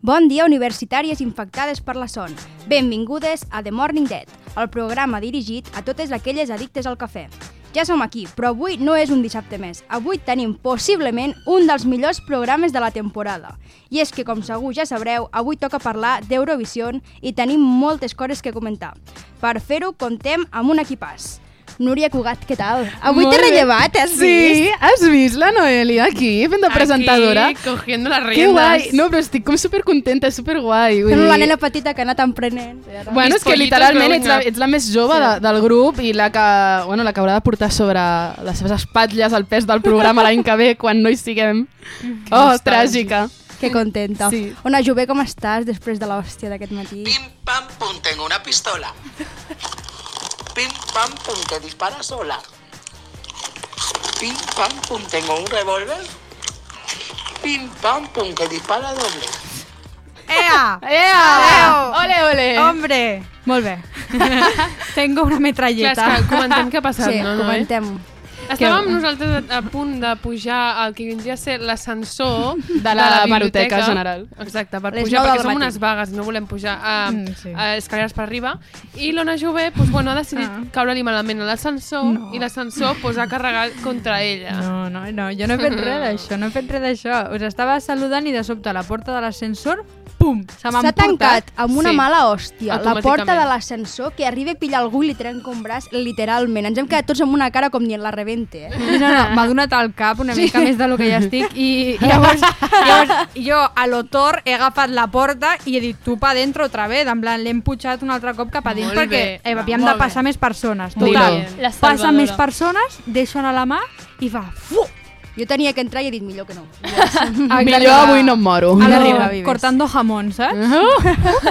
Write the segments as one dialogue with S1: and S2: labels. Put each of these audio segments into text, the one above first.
S1: Bon dia, universitàries infectades per la son. Benvingudes a The Morning Dead, el programa dirigit a totes aquelles addictes al cafè. Ja som aquí, però avui no és un dissabte més. Avui tenim possiblement un dels millors programes de la temporada. I és que, com segur ja sabreu, avui toca parlar d'Eurovisió i tenim moltes coses que comentar. Per fer-ho, comptem amb un equipàs. Núria Cugat, què tal? Avui
S2: Molt
S1: t'he
S2: bé.
S1: rellevat, eh, has vist?
S2: Sí, has vist la Noelia aquí, fent de presentadora?
S3: Aquí, cogiendo las riendas.
S2: Que guai! No, però estic com supercontenta, superguai. Vull
S1: Fent la
S2: dir-
S1: nena petita que ha anat emprenent.
S2: Bueno, és que
S3: Mis pollitos
S2: literalment
S3: growing
S2: ets la,
S3: up.
S2: ets la més jove de, del grup i la que, bueno, la que haurà de portar sobre les seves espatlles el pes del programa l'any que ve quan no hi siguem. Oh,
S3: nostàlgia.
S2: tràgica.
S1: Que contenta.
S2: Sí.
S1: Ona Jové, com estàs després de l'hòstia d'aquest matí?
S4: Pim, pam, pum, tengo una pistola. Pim, pam, pum, que dispara sola. Pim, pam, pum, tengo un revólver. Pim, pam, pum, que dispara doble.
S5: ¡Ea!
S2: Ea! Ole, ole!
S5: ¡Hombre! Molt bé. Tengo una
S3: Clar,
S5: metralleta.
S3: és que comentem què ha passat,
S1: sí,
S3: no? no eh?
S1: comentem-ho.
S3: Estàvem nosaltres a punt de pujar al que vindria a ser l'ascensor
S2: De la Maroteca General.
S3: Exacte, per
S1: Les
S3: pujar,
S1: nou del
S3: perquè som
S1: matí.
S3: unes vagues, no volem pujar a,
S5: Mm, sí.
S3: a escaleres per arriba. I l'Ona Jové pues, bueno, ha decidit
S5: Ah.
S3: caure-li malament a l'ascensor
S5: No.
S3: i l'ascensor pues, ha carregat contra ella.
S5: No, no, no, jo no he fet res d'això, no he fet res d'això. Us estava saludant i de sobte a la porta de l'ascensor, pum, se m'ha
S1: S'ha tancat amb una
S3: Sí.
S1: mala hòstia. La porta
S3: Automàticament.
S1: de l'ascensor, que arriba a pillar algú i li trenca un braç, literalment. Ens hem quedat tots amb una cara com dient la rebente, eh?
S5: No, no, m'ha donat al cap una mica més del que ja estic i llavors, llavors jo a l'otor he agafat la porta i he dit tu pa dentro otra vez, en plan l'hem pujat un altre cop cap a dins
S3: Molt
S5: perquè
S3: bé.
S5: eh,
S3: Va,
S5: havíem
S3: molt
S5: de
S3: bé.
S5: passar més persones.
S2: Molt
S5: Total,
S2: bé.
S6: La
S5: passa
S6: salvadora.
S5: més persones, deixo anar la mà i fa fu!
S1: Jo tenia que entrar i he dit millor que no.
S2: Millor avui no em moro.
S5: A la
S1: Arriba,
S5: riba,
S1: vives.
S5: cortando jamón, saps? Uh-huh.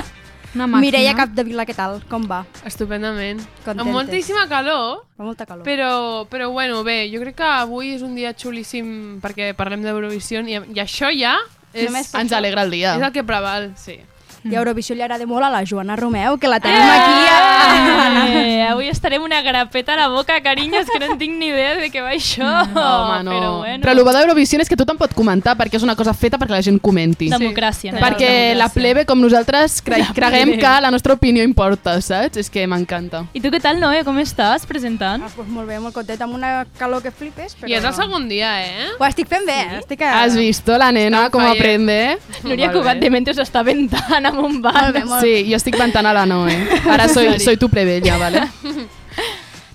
S5: Una màquina.
S1: Mireia Capdevila, què tal? Com va?
S3: Estupendament.
S1: Contentes.
S3: Amb moltíssima calor,
S1: Fa molta calor.
S3: Però, però bueno, bé, jo crec que avui és un dia xulíssim perquè parlem d'Eurovisió i, i això ja és,
S1: Només
S3: és
S2: Ens alegra el dia.
S3: el que preval, sí.
S1: I a Eurovisió li agrada molt a la Joana Romeu, que la tenim
S3: Eh!
S1: aquí. A...
S6: Eh, avui estarem una grapeta a la boca, carinyos, que no en tinc ni idea de què va això.
S2: Home, no.
S6: Però bueno,
S2: Però el bo d'Eurovisió és que tothom pot comentar perquè és una cosa feta perquè la gent comenti.
S6: democràcia. no?
S2: Perquè la
S6: Democràcia.
S2: plebe, com nosaltres, cre creguem
S6: plebe.
S2: que la nostra opinió importa, saps? És que m'encanta.
S6: I tu què tal, Noe? Com estàs presentant?
S1: Ah, pues molt bé, molt contenta, amb una calor que flipes, però...
S3: I és el segon dia, eh?
S1: Ho estic fent bé, eh? Estic a...
S2: Has vist la nena
S3: Està
S2: com
S3: on fire.
S2: aprende?
S6: Núria
S3: Molt bé.
S6: Cugat de Mentes està ventant amb un banc.
S1: Molt bé, molt bé.
S2: Sí, jo estic ventant a la Noe. Ara soy, soy tu plebella, vale?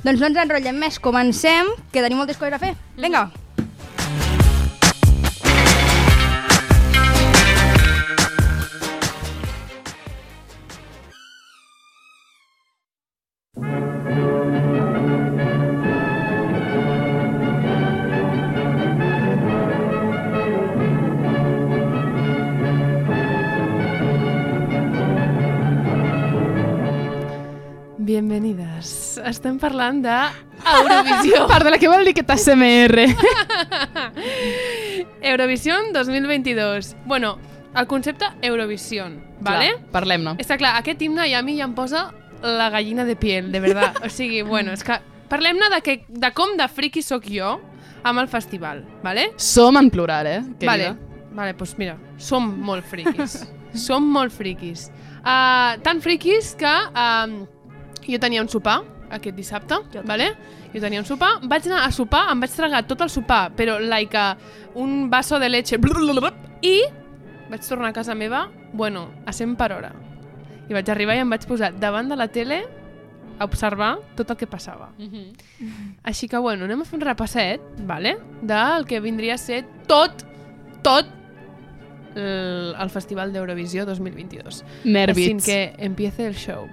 S1: Doncs no ens enrotllem més, comencem, que tenim moltes coses a fer.
S3: Mhm.
S1: Vinga.
S3: Bienvenides. Estem parlant de Eurovisió.
S2: Perdona, què vol dir que t'ASMR?
S3: Eurovisió 2022. Bueno, el concepte Eurovisió, vale?
S2: Parlem-ne.
S3: Està clar, aquest himne ja a mi ja em posa la gallina de piel, de verdad. O sigui, bueno, és que parlem-ne de, que, de com de friki sóc jo amb el festival, vale?
S2: Som en plural, eh?
S3: Vale, vale, doncs mira, som molt friquis. som molt friquis. Uh, tan friquis que uh, jo tenia un sopar aquest dissabte, jo vale? Jo tenia un sopar, vaig anar a sopar, em vaig tragar tot el sopar, però like a un vaso de leche i vaig tornar a casa meva, bueno, a 100 per hora. I vaig arribar i em vaig posar davant de la tele a observar tot el que passava. Així que, bueno, anem a fer un repasset, vale? del que vindria a ser tot, tot el, el Festival d'Eurovisió 2022. Sin
S2: Nervits.
S3: que empiece el show.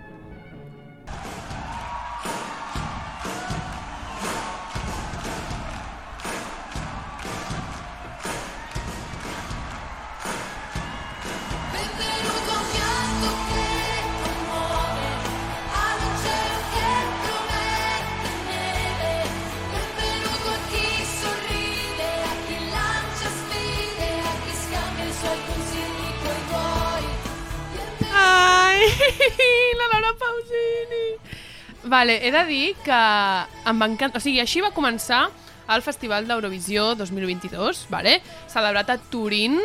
S3: Ai, la Laura Pausini! Vale, he de dir que em va encantar... O sigui, així va començar el Festival d'Eurovisió 2022, vale? celebrat a Turín,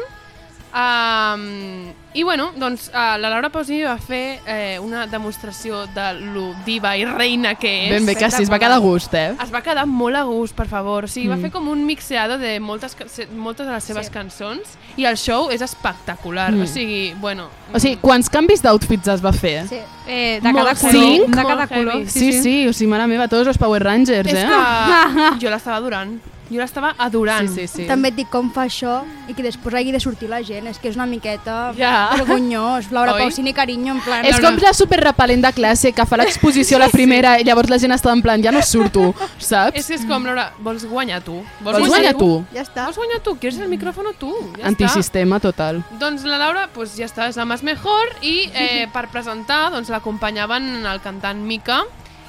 S3: Um, I bueno, doncs uh, la Laura Posi va fer eh, una demostració de lo diva i reina que és.
S2: Ben bé que sí, es va quedar a gust, eh?
S3: Es va quedar molt a gust, per favor. O sigui,
S2: Mm.
S3: va fer com un mixeado de moltes, ca- se- moltes de les seves sí. cançons i el show és espectacular.
S2: Mm.
S3: Mm. O sigui, bueno...
S2: O sigui, quants canvis d'outfits es va fer?
S1: Sí.
S5: Eh, de
S3: Molt
S5: cada color.
S2: cinc?
S5: De
S3: Molt
S5: cada
S3: heavy.
S5: color.
S2: Sí, sí, sí, o sigui, mare meva, tots els Power Rangers,
S3: és
S2: eh?
S3: que jo l'estava adorant. Jo l'estava adorant.
S2: Sí, sí, sí.
S1: També et dic com fa això i que després hagi de sortir la gent. És que és una miqueta
S3: Ja.
S1: vergonyós. Laura
S3: Oi?
S1: Pausini, carinyo, en plan...
S2: És
S3: Ah, No,
S2: com
S3: no.
S2: la superrepel·lent de classe que fa l'exposició a la primera i llavors la gent està en plan, ja no surto,
S3: És
S2: saps?
S3: que és com, Laura, vols guanyar tu?
S2: Vols guanyar tu?
S7: Ja està.
S3: Vols guanyar tu? Quieres el micrófono tu? Ja està.
S2: Antisistema total.
S3: Doncs la Laura, pues, ja està, és la més mejor i eh, per presentar doncs, l'acompanyaven el cantant Mica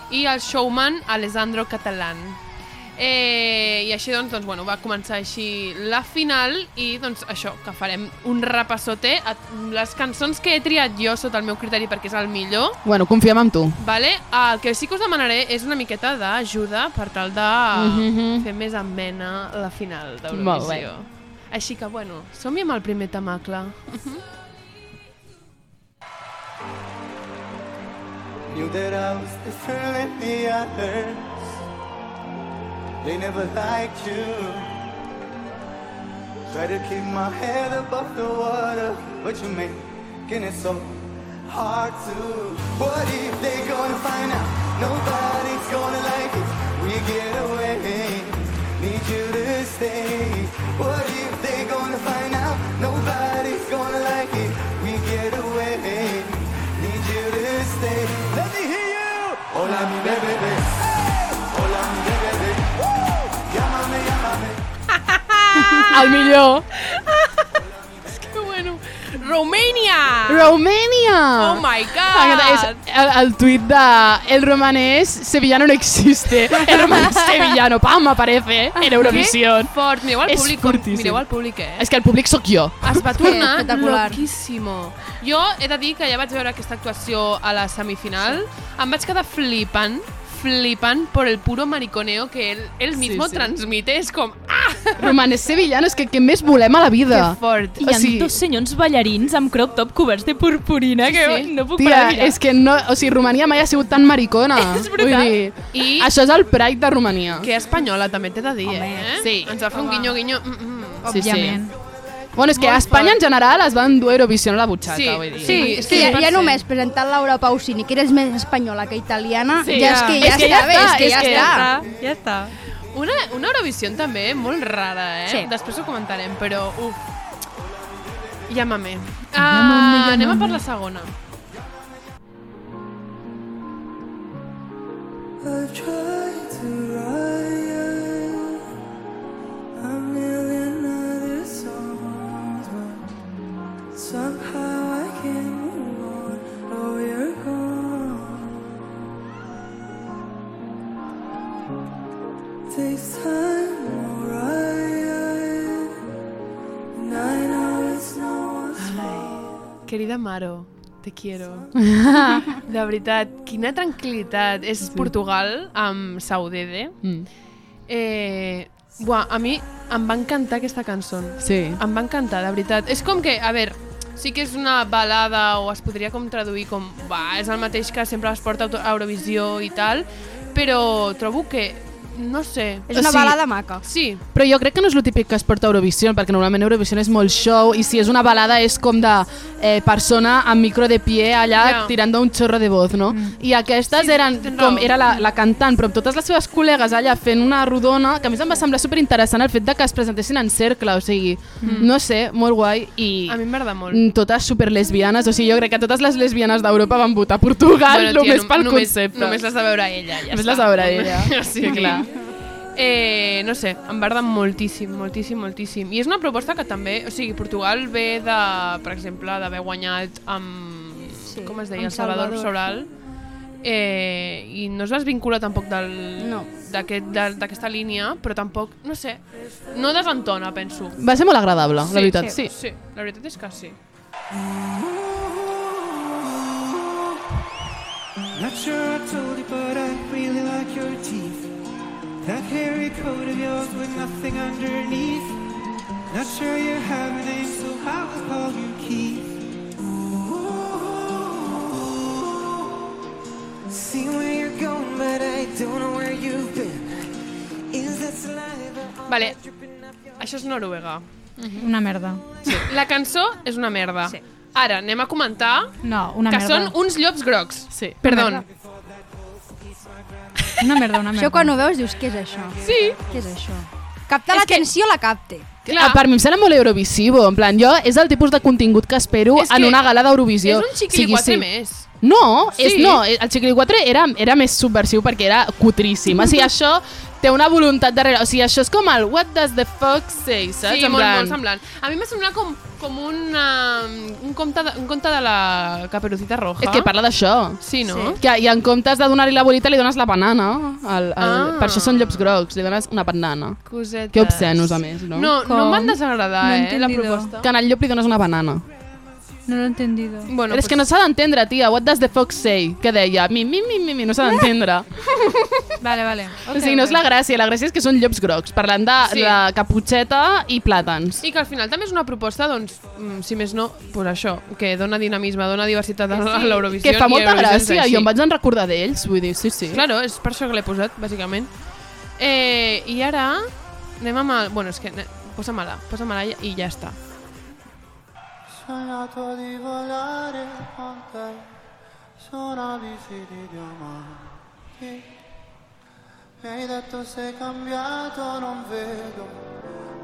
S3: i el showman Alessandro Catalán. Eh, I així doncs, doncs bueno, va començar així la final i doncs això, que farem un repassote a les cançons que he triat jo sota el meu criteri perquè és el millor
S2: Bueno, confiem en tu.
S3: Vale? El que sí que us demanaré és una miqueta d'ajuda per tal de
S2: Mhm.
S3: fer més amena la final
S2: Molt
S3: d'Eurovisió.
S2: bé.
S3: Així que, bueno, som-hi amb el primer temacle.
S8: Knew that I was different than the others. They never liked you. Try to keep my head above the water, but you making it so hard to. What if they gonna find out? Nobody's gonna like it. We get away. Need you to stay. What if they gonna find out? Nobody's gonna like it. We get away. Need you to stay. Let me hear you. Hola mi bebé. Hola mi bebé. Llámame, llámame.
S3: Ah.
S2: El millor.
S3: Que bueno! Romania!
S2: Romania!
S3: Ah. Oh my
S2: M'agrada, És
S3: god!
S2: el, el tuit de El romanés sevillano no existe. El romanés sevillano, pam, aparece en Eurovisión.
S3: Fort, mireu al
S2: És
S3: públic, com-
S2: fortíssim.
S3: mireu al públic, eh?
S2: És que el públic sóc jo.
S3: Es va tornar
S1: espectacular.
S3: loquíssimo. Jo he de dir que ja vaig veure aquesta actuació a la semifinal. Em vaig quedar flipant, flipant por el puro mariconeo que él, él mismo
S2: sí.
S3: transmite. És com,
S2: Romanés sevillano, és que què més volem a la vida?
S3: Que "Ah, fort.
S6: Hi
S2: O
S6: ha
S2: sigui-
S6: dos senyors ballarins amb crop top coberts de purpurina que
S3: Sí.
S6: no puc parar
S2: Tia,
S6: de mirar.
S2: és que no, o sigui, Romania mai ha sigut tan maricona.
S6: És brutal.
S2: Vull dir,
S3: I-
S2: Això és el Pride de Romania.
S3: Que espanyola, també t'he de dir, eh?
S2: sí.
S3: Ens va fer un guinyo, guinyo. Mm -mm.
S2: Sí, sí.
S5: Òbviament.
S2: Bueno, és que a
S3: Molt
S2: Espanya
S3: fort.
S2: en general es va endur Eurovisió a la butxaca, vull dir.
S1: És que ja, ja només presentant Laura Pausini, que eres més espanyola que italiana,
S3: Sí,
S1: ja, és
S3: ja.
S1: que ja,
S2: És que
S1: està
S2: ja
S1: bé,
S2: està,
S1: és que
S2: és
S1: ja
S2: que
S1: està.
S5: Ja, ja està.
S3: Una, una Eurovisió també molt rara, eh?
S1: Sí.
S3: Després ho comentarem, però... Uf. Llámame. Ah, anem a per la segona.
S8: I've tried to write a million other songs, but somehow I can't move on. Oh, you're gone. Takes time, alright, and I know it's no one's fault.
S3: Querida Maro, te quiero. De veritat, quina tranquil·litat. És Portugal amb Saudede.
S2: Mm.
S3: Eh, buah, a mi em va encantar aquesta cançó.
S2: Sí.
S3: Em va encantar, de veritat. És com que, a veure, sí que és una balada o es podria com traduir com... Va, és el mateix que sempre es porta a Eurovisió i tal, però trobo que... No sé...
S1: És una
S2: O sigui-
S1: balada maca.
S3: Sí,
S2: Però jo crec que no és el típic que es porta a Eurovisió, perquè normalment Eurovisió és molt show, i si és una balada és com de eh, persona amb micro de pie allà
S3: Ja.
S2: yeah. tirant un xorro de voz, no? Mm. I aquestes
S3: Sí,
S2: sí, eren
S3: tens
S2: com
S3: raó.
S2: era la, la cantant, però amb totes les seves col·legues allà fent una rodona, que a més em va semblar superinteressant el fet de que es presentessin en cercle, o sigui, mm. no sé, molt guai, i...
S3: a mi m'agrada molt.
S2: mm, totes superlesbianes, o sigui, jo crec que totes les lesbianes d'Europa van votar Portugal bueno, només
S3: nom-
S2: pel
S3: només,
S2: concepte.
S3: Només l'has de veure ella, ja
S2: Només
S3: està.
S2: l'has de veure ella.
S3: sí, clar. Eh, no sé, em va agradar moltíssim, moltíssim, moltíssim. I és una proposta que també... O sigui, Portugal ve de, per exemple, d'haver guanyat amb...
S1: Sí,
S3: com es
S1: amb
S3: deia? Salvador,
S1: Salvador.
S3: Sobral. Eh, I no es va desvincular tampoc del
S1: No.
S3: d'aquest- del- d'aquesta línia, però tampoc, no sé, no desentona, penso.
S2: Va ser molt agradable, la veritat.
S3: sí. sí. la veritat és que sí.
S8: Not sure I told you, but I really like your teeth. That hairy coat of yours with nothing underneath. Not sure you're happy days, so I will call you Keith. Ooh. See where you're going, but I don't know where you've been. Is that saliva? on
S3: Vale.
S8: that dripping off your-
S3: Això és Noruega.
S5: Una merda.
S3: Sí. La cançó és una merda.
S5: Sí.
S3: Ara, anem a comentar
S5: No, una
S3: que
S5: merda.
S3: són uns llops grocs.
S2: Sí.
S3: Perdó.
S5: merda. Una merda, una merda.
S1: Això quan ho veus dius, què és això?
S3: Sí.
S1: Què és això? Captar l'atenció la capte.
S3: Clar.
S2: Clar. Per mi em sembla molt Eurovisivo, en plan, jo és el tipus de contingut que espero
S3: És
S2: en
S3: que
S2: una gala d'Eurovisió.
S3: és un xiquiliquatre sí. més.
S2: No,
S3: Sí.
S2: és, no, el xiquiliquatre era, era més subversiu perquè era cutríssim. O sigui, això té una voluntat darrere. O sigui, això és com el what does the fuck say, saps?
S3: Sí,
S2: En
S3: molt,
S2: plan,
S3: molt semblant. A mi m'ha semblat com, com un, um, un, conte de, un conte de la Caperucita Roja.
S2: És que parla d'això.
S3: Sí, no? Sí.
S2: Que, I en comptes de donar-li la bolita, li dones la banana. El, el,
S3: Ah.
S2: Per això són llops grocs, li dones una banana.
S3: Cosetes.
S2: Que obscenos, a més, no?
S3: No, no
S5: Com?
S3: em van desagradar,
S5: No he
S3: eh, la
S5: entendido.
S3: proposta.
S2: Que en el llop li dones una banana.
S5: No lo he entendido.
S3: Bueno,
S2: Però és que no s'ha d'entendre, tia. What does the fox say? Que deia, mi, mi, mi, mi, mi, no s'ha d'entendre.
S5: Vale, vale.
S2: o sigui, no és la gràcia. La gràcia és que són llops grocs. Parlant de,
S3: Sí.
S2: sí. de caputxeta i plàtans.
S3: I que al final també és una proposta, doncs, mm, si més no, pues això, que dona dinamisme, dona diversitat a a l'Eurovisió.
S2: que fa
S3: i
S2: molta
S3: Eurovisió és
S2: gràcia.
S3: així.
S2: Jo em vaig en recordar d'ells. Vull dir, sí, sí.
S3: Claro, és per això que l'he posat, bàsicament. Eh, I ara anem amb el... Bueno, és que... ne- Posa-me-la, posa-me-la i- i ja està.
S8: sognato di volare con te su una bici di diamanti. Mi hai detto sei cambiato, non vedo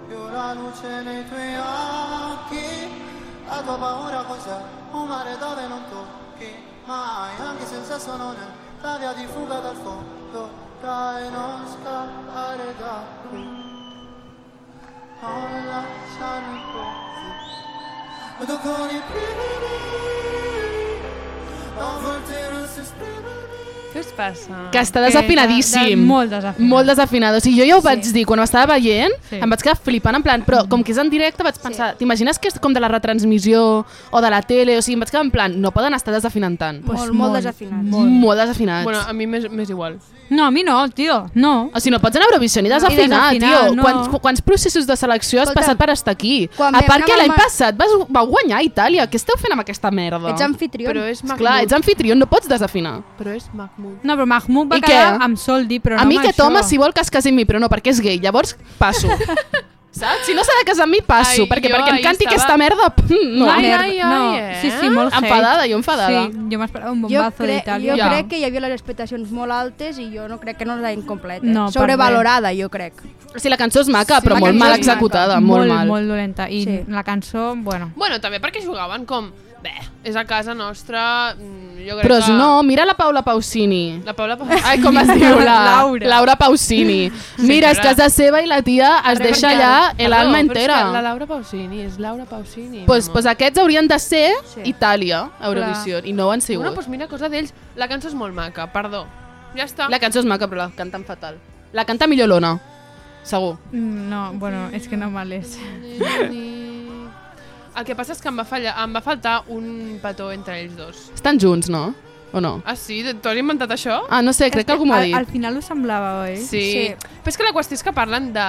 S8: più la luce nei tuoi occhi. La tua paura cos'è? Un mare dove non tocchi mai, anche senza sono nel la via di fuga dal fondo. Dai, non scappare da qui. Non lasciarmi così. До коли прибери, а вольтера се сприбери.
S3: Què us passa?
S2: Que està desafinadíssim.
S5: Eh, de- de- molt desafinat.
S2: Molt desafinada. O sigui, jo ja ho vaig
S5: Sí.
S2: dir quan ho estava veient,
S5: Sí.
S2: sí. em vaig quedar flipant, en plan, però com que és en directe vaig pensar, sí. t'imagines que és com de la retransmissió o de la tele, o sigui, em vaig quedar en plan, no poden estar desafinant tant.
S1: Pues molt, molt desafinat.
S2: Molt, molt desafinats.
S3: Bueno, a mi m'és m'és igual.
S5: No, a mi no, tio. No.
S2: o sigui, no pots anar a Eurovisió ni desafinar,
S5: desafinar,
S2: tio.
S5: no.
S2: Quants, quants processos de selecció has
S1: Escolta,
S2: passat per estar aquí?
S1: quan
S2: A
S1: vam
S2: part que
S1: anar
S2: l'any
S1: amb-
S2: passat vas, vau guanyar a Itàlia. Què esteu fent amb aquesta merda?
S1: Ets anfitrió.
S3: Però és Mahmoud.
S2: Clar, ets anfitrió, no pots desafinar.
S3: Però és Mahmoud.
S5: No, però Mahmoud va
S2: I
S5: quedar
S2: què?
S5: amb Soldi, però
S2: a
S5: no
S2: mi
S5: amb
S2: aquest
S5: això.
S2: home, si vol que es casi amb mi, però no, perquè és gay, llavors passo. Saps? Si no s'ha de casar amb mi,
S3: Ai,
S2: passo, Ai, perquè
S3: jo
S2: perquè em
S3: ahir
S2: canti
S3: estava-
S2: aquesta merda, pff, no.
S3: Ai,
S2: Ai,
S5: Merda.
S3: ai, ai,
S5: no.
S3: eh?
S5: Sí, sí, molt hate.
S2: Enfadada, jo enfadada.
S5: Sí, jo m'esperava un
S1: Jo,
S5: bombazo
S1: crec, jo
S5: d'Itàlia.
S2: Ja.
S1: crec que hi havia les expectacions molt altes i jo no crec que no les hagin complet. Eh?
S5: No, per
S1: Sobrevalorada, jo crec.
S2: Sí, la cançó és maca,
S5: Sí,
S2: però
S5: la
S2: molt
S5: cançó
S2: mal
S5: és
S2: executada, molt,
S5: molt,
S2: mal.
S5: molt dolenta. I
S1: Sí.
S5: la cançó, bueno...
S3: Bueno, també perquè jugaven com... Bé, és a casa nostra, mm, jo crec
S2: Però és
S3: que...
S2: no, mira la Paula Pausini.
S3: La Paula...
S2: Ai, com es diu? La...
S5: Laura.
S2: Laura Pausini. Mira, és
S3: Senyora.
S2: casa seva i la tia es deixa allà
S3: Perdó, però és
S2: l'alma
S3: que La
S2: entera.
S3: Laura Pausini, és Laura Pausini.
S2: Pues,
S3: mamà.
S2: pues aquests haurien de ser
S1: Sí.
S2: Itàlia, Eurovisió, i no ho han sigut.
S3: Bueno, pues mira, cosa d'ells. La cançó és molt maca, perdó. Ja està.
S2: La cançó és maca, però la canten fatal. La canta millor l'Ona. Segur.
S5: Mm, No, bueno, és que no me l'és.
S3: El que passa és que em va, fallar, em va faltar un petó entre ells dos.
S2: Estan junts, no? O no?
S3: Ah, sí? Tu has inventat això?
S2: Ah, no sé, crec que algú m'ho ha
S5: Al, al
S2: dit.
S5: final ¿eh? ho semblava, oi?
S3: Sí. Però és que la qüestió és que parlen de,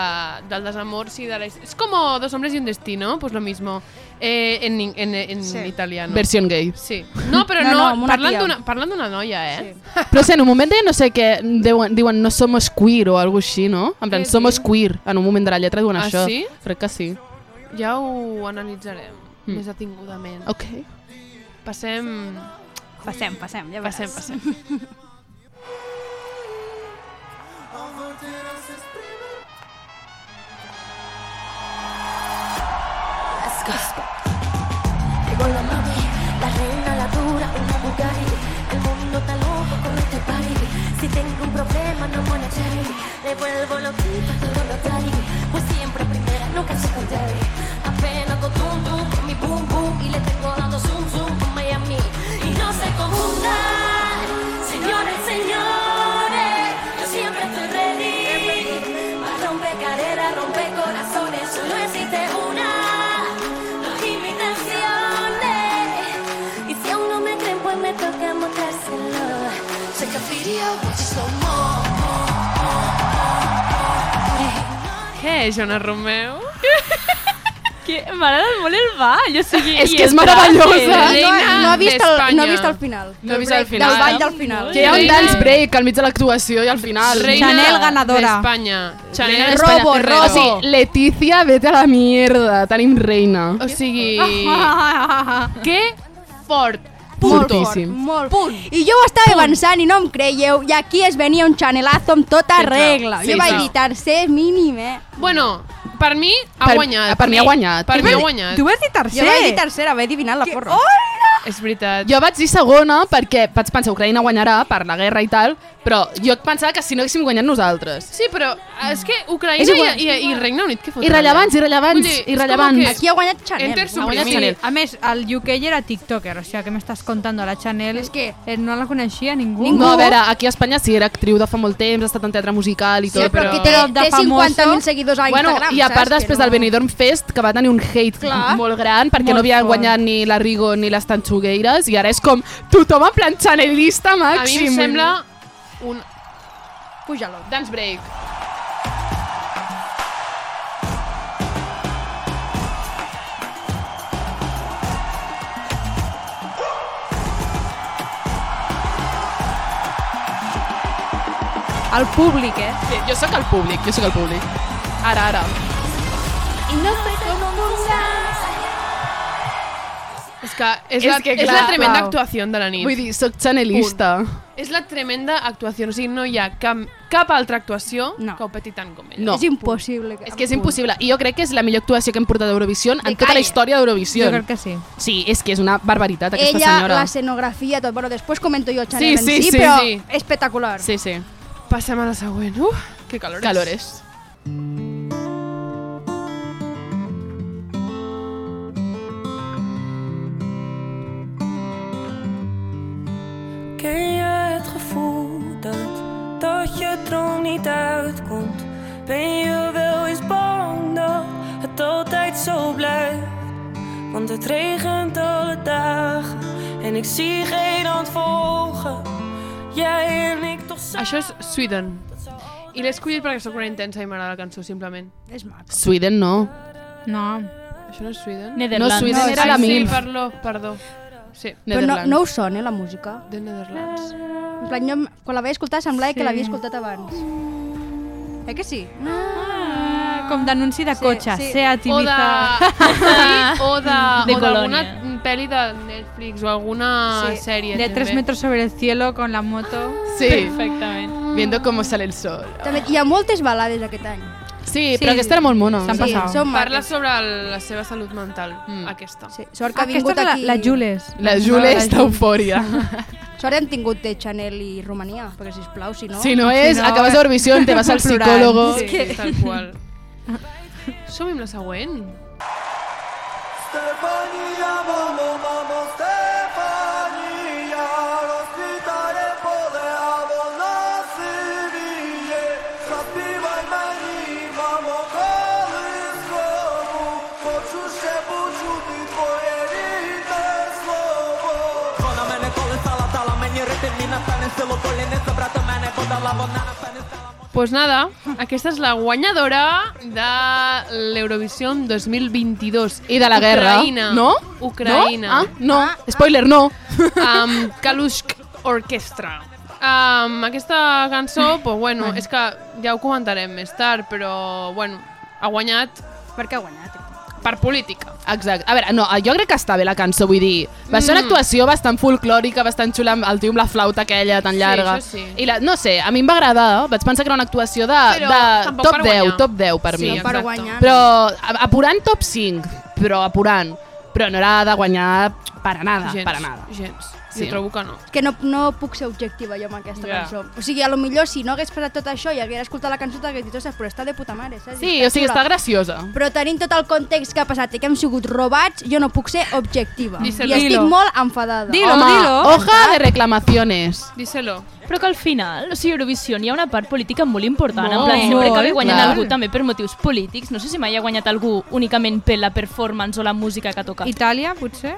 S3: del desamor, sí, de la... És com dos hombres y un destino, pues lo mismo, eh, en, in- en, en
S1: Sí.
S3: italiano.
S2: Versió gay.
S3: Sí. No, però
S1: No, no,
S3: no,
S1: amb
S3: no
S1: una
S3: parlant
S1: tia.
S3: d'una- parlant d'una noia, eh? Sí.
S2: Però sé, en un moment deien no sé què, diuen, diuen no somos queer o alguna així, no? En plan,
S3: Què
S2: somos queer. En un moment de la lletra diuen
S3: Ah,
S2: això.
S3: sí?
S2: Crec que sí.
S3: Ja ho analitzarem
S2: Mm.
S3: més detingudament.
S2: Ok.
S3: Passem...
S1: Passem, passem, ja veuràs.
S3: Passem, passem.
S8: А вольтера се сприбери.
S7: Let's go. Llegó la mami, la reina, la dura, una Bugatti. El mundo está loco con este party. Si tengo un problema, no voy a cherry. Le vuelvo loquita, todo lo daddy. Pues siempre primera, nunca secondary. Apenas con tum tum, con mi boom boom. Y le tengo dando zoom zoom con Miami. Y no se confundan, señores, señores. Yo siempre estoy ready. Para romper caderas, romper corazones. Solo existe una. Los imitaciones. Y si aún no me creen, pues me toca mostrárselo. Check a video, watch it slow mo.
S3: Què, Jonas Romeu?
S6: que m'agrada molt el ball, o sigui...
S2: És
S6: i
S2: que és
S6: el
S2: meravellosa.
S6: traje.
S1: No,
S3: Reina
S1: no, he vist el, no he
S3: d'Espanya.
S1: vist el final.
S2: No he vist el
S1: Del
S2: final.
S1: ball del final.
S2: Que hi ha un
S3: Reina-
S2: dance break al mig de l'actuació i al final.
S3: Reina
S5: Chanel ganadora.
S3: d'Espanya. Chanel
S2: Reina
S3: d'Espanya.
S2: Robo,
S3: Ferrero.
S2: O sigui, Leticia, vete a la mierda. Tenim reina.
S3: O sigui... que fort.
S2: Fortíssim.
S1: Molt Punt. I jo ho estava avançant i no em creieu, i aquí es venia un xanelazo amb tota
S3: Sense-
S1: regla.
S3: sí,
S1: jo vaig
S3: sí.
S1: dir tercer mínim, eh?
S3: Bueno, per mi ha
S2: Per-
S3: guanyat.
S2: per mi ha guanyat.
S3: Per
S2: Tu
S3: mi ha
S2: vas-
S3: guanyat.
S5: Tu vas dir
S2: Ah,
S1: Jo vaig dir
S5: tercer.
S1: tercera, vaig adivinar la porra.
S3: És veritat.
S2: Jo vaig dir segona perquè vaig pensar Ucraïna guanyarà per la guerra i tal, però jo pensava que si no haguéssim guanyat nosaltres.
S3: Sí, però és que Ucraïna
S2: És igual.
S3: i, i, i Regne Unit, què foten?
S2: Irrellevants,
S3: allà?
S2: irrellevants,
S3: Vull dir, és com
S2: irrellevants.
S3: que-
S1: Aquí ha guanyat Chanel.
S3: Enter
S1: Ha guanyat
S3: suprimir.
S2: Chanel.
S5: A més, el UK ja era tiktoker, o sigui, que m'estàs contant la Chanel?
S1: És que-
S5: eh, no la coneixia ningú.
S2: No, a veure, aquí a Espanya sí, era actriu de fa molt temps, ha estat en teatre musical i
S1: Sí,
S2: tot,
S1: però
S2: però...
S1: que té,
S5: Però de
S1: té
S5: famoso-
S1: 50.000 seguidors a
S2: Bueno,
S1: Instagram,
S2: i a part
S1: saps?
S2: després
S1: Que
S2: del Benidorm Fest, que va tenir un hate
S1: Clar.
S2: molt gran, perquè
S5: Molt
S2: no havien
S5: fort.
S2: guanyat ni la Rigo ni les Tanxugueires, i ara és com tothom en plan chanelista
S3: A mi
S2: màxim.
S3: em sembla un
S1: Puja-lo.
S3: dance break.
S5: El públic, eh?
S2: Sí, Jo sóc el públic, jo sóc el públic. Ara, ara.
S3: És que és,
S2: És
S3: la,
S2: que,
S3: és
S2: clar,
S3: la tremenda
S2: uau.
S3: actuació de la nit.
S2: Vull dir, sóc chanelista.
S3: És la tremenda actuació. O sigui, no hi ha cap, cap altra actuació
S1: No.
S3: que ho peti tant com ella.
S2: No.
S1: És impossible.
S2: És que és impossible. I jo crec que és la millor actuació que hem portat a Eurovisió en
S1: De
S2: tota
S1: calle.
S2: la història
S5: Jo
S2: d'Eurovisió.
S5: crec que sí.
S2: Sí, és que és una barbaritat, aquesta
S1: Ella,
S2: senyora.
S1: la escenografía, tot. Bueno, després comento jo Chanel
S2: Sí,
S1: en
S2: sí,
S1: si,
S2: sí,
S1: però
S2: sí.
S1: espectacular.
S2: Sí, sí.
S3: Passem a la següent. Uf, que calores.
S2: Calores.
S9: Ken je het gevoel dat, dat je droom niet uitkomt? Ben je wel eens bang dat het altijd zo blijft? Want het regent alle dagen en ik zie geen hand volgen. Jij en ik toch samen.
S3: Això és Sweden. I l'he escollit perquè sóc una intensa i m'agrada la cançó, simplement.
S1: És maco.
S2: Sweden no.
S5: No.
S3: Això no és Sweden?
S6: Netherlands.
S2: No, Sweden
S1: No,
S2: era
S1: sí,
S2: la
S1: sí,
S3: Sí,
S2: MILF.
S3: parlo, perdó. Sí,
S1: Però no,
S2: Netherlands.
S1: no ho sona, eh, la música.
S3: de Netherlands.
S1: En plan, jo, quan la vaig escoltar, semblava sí. que l'havia escoltat abans. Eh que sí?
S5: Com d'anunci de
S1: Sí,
S5: cotxe,
S1: sí.
S5: Seat
S3: O de...
S5: Ibiza.
S3: Sí, o de...
S6: De
S3: o d'alguna
S6: Colònia.
S3: pel·li de Netflix o alguna
S2: Ah,
S1: Sí,
S3: sèrie.
S5: De 3
S3: també.
S5: metros sobre el cielo con la moto.
S2: Sí,
S6: Perfectament.
S2: viendo cómo sale el sol.
S1: També hi ha moltes balades aquest any.
S2: Sí, però aquesta era molt mona.
S5: S'han passat.
S1: Sí, som
S3: Parla
S1: Parla...
S3: sobre el- la seva salut mental, mm. aquesta.
S1: Sí, sort que ha
S5: Ah, Aquesta
S1: vingut
S5: és la,
S1: aquí...
S5: la Jules.
S2: La Jule
S5: No,
S2: està eufòria.
S1: Sort hem tingut de Chanel i Romania, perquè sisplau, si no...
S2: Si no és,
S5: Si no,
S2: acabes d'Eurovisió, te vas al
S5: plorant.
S2: psicòlogo.
S3: Sí, tal qual. Som-hi amb la següent.
S8: Stefania, mamo, mamo, Stefania, l'ospitale poleavo nosi vinje, zaspivaj meni, mamo, koliskom, hoću še počuti tvoje rime slovo. Ona mene kolesala, dala meni ritem i nastane selo dolje, ne zabrata mene, podala vona nastane stala.
S3: Doncs pues nada, aquesta és la guanyadora de l'Eurovisió 2022.
S2: I de la guerra.
S3: Ucraïna.
S2: No?
S3: Ucraïna.
S2: No? Ah, no. Spoiler, no.
S3: amb Kalushk Orchestra. Um, aquesta cançó, pues bueno, és que ja ho comentarem més tard, però bueno, ha guanyat
S1: Perquè ha guanyat.
S3: per política.
S2: Exacte. A veure, no, jo crec que està bé la cançó, vull dir, va ser una
S3: Mm.
S2: actuació bastant folclòrica, bastant xula, amb el tio amb la flauta aquella tan
S3: Sí,
S2: llarga.
S3: això sí.
S2: I la, no sé, a mi em va agradar, vaig pensar que era una actuació de,
S3: Però
S2: de
S3: tampoc
S2: top
S3: per
S2: 10,
S3: guanyar.
S2: top 10 per
S3: Sí,
S2: mi.
S1: Per
S3: Exacte.
S1: guanyar.
S2: Però a- apurant top 5, però apurant. Però no era de guanyar per a nada,
S3: gens,
S2: per a nada.
S3: gens.
S2: Sí.
S3: Jo trobo que no.
S1: que no, no puc ser objectiva jo amb aquesta
S3: Ja.
S1: yeah. cançó. O sigui, a lo millor si no hagués passat tot això i hagués escoltat la cançó t'hagués dit, ostres, però està de puta mare, saps?
S2: Sí, o sigui, està
S1: xula."
S2: graciosa.
S1: Però tenint tot el context que ha passat i que hem sigut robats, jo no puc ser objectiva. I
S3: Díselo.
S1: estic
S5: Dilo.
S1: molt enfadada.
S5: Dilo,
S2: Home,
S5: dilo.
S2: hoja de reclamaciones.
S3: Díselo.
S6: Però que al final, o sigui, Eurovisió hi ha una part política molt important.
S3: Molt,
S6: en plan, sempre que ve
S5: molt,
S6: guanyant
S2: clar.
S6: algú també per motius polítics. No sé si mai ha guanyat algú únicament per la performance o la música que toca. I
S5: Itàlia, potser?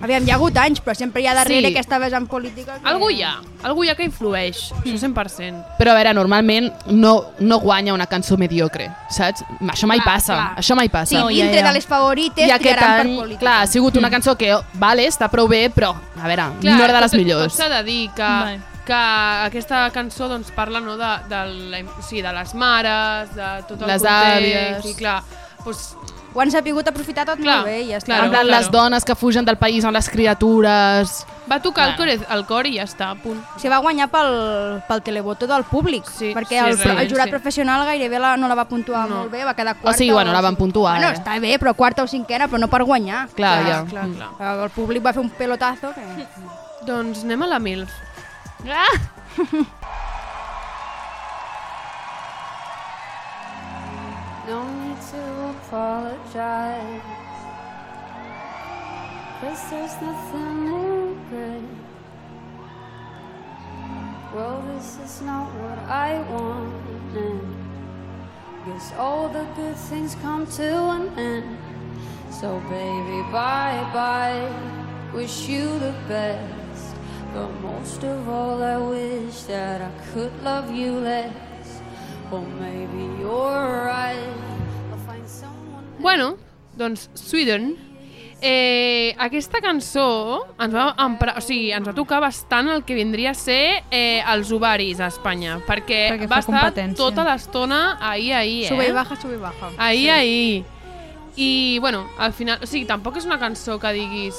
S1: Aviam, hi ha hagut anys, però sempre hi ha darrere
S3: Sí.
S1: aquesta vessant política. Que...
S3: Algú hi ha, algú hi ha que influeix, això 100%.
S2: Però a veure, normalment no, no guanya una cançó mediocre, saps? Això mai
S3: Clar,
S2: passa,
S3: clar.
S2: això mai passa.
S1: Sí,
S6: No, ja,
S1: dintre
S6: ja.
S1: de les favorites
S2: I aquest
S1: tiraran
S2: any,
S1: per política.
S2: clar, ha sigut una cançó que, vale, està prou bé, però, a veure, no era de les
S3: tot-
S2: millors.
S3: Tot s'ha de dir que,
S6: Vale.
S3: que aquesta cançó doncs, parla no, de, de, la, sí, de les mares, de tot el
S2: Les
S3: context,
S2: àvies.
S3: i clar, doncs,
S1: Ho han sabut aprofitar tot
S3: Clar,
S1: molt bé i ja està.
S3: clar.
S2: en plan,
S3: claro.
S2: les dones que fugen del país amb les criatures...
S3: va tocar el, cor, el cor i ja està, punt.
S1: Se va guanyar pel, pel televoto del públic,
S3: Sí,
S1: perquè
S3: sí,
S1: el,
S3: realment,
S1: el jurat
S3: sí.
S1: professional gairebé la, no la va puntuar
S3: No.
S1: molt bé, va quedar quarta.
S2: sigui, bueno, la van puntuar,
S1: Bueno,
S2: eh?
S1: està bé, però quarta o cinquena, però no per guanyar.
S2: Clar, ja.
S3: clar, clar.
S1: El públic va fer un pelotazo que...
S3: Doncs anem a la MILF.
S9: No need to apologize. Cause there's nothing new, but Well, this is not what I wanted. Guess all the good things come to an end. So, baby, bye bye. Wish you the best. But most of all, I wish that I could love you less. Well, maybe you're right. I'll find someone.
S3: Bueno, doncs Sweden. Eh, aquesta cançó ens va, emprar, o sigui, ens va tocar bastant el que vindria a ser eh, els ovaris a Espanya, perquè,
S5: Perquè
S3: va
S5: fa
S3: estar
S5: competència.
S3: tota l'estona ahir, ahir, eh?
S1: Sube i baja, sube i baja.
S3: Ahir, sí. ahir. I, bueno, al final... O sigui, tampoc és una cançó que diguis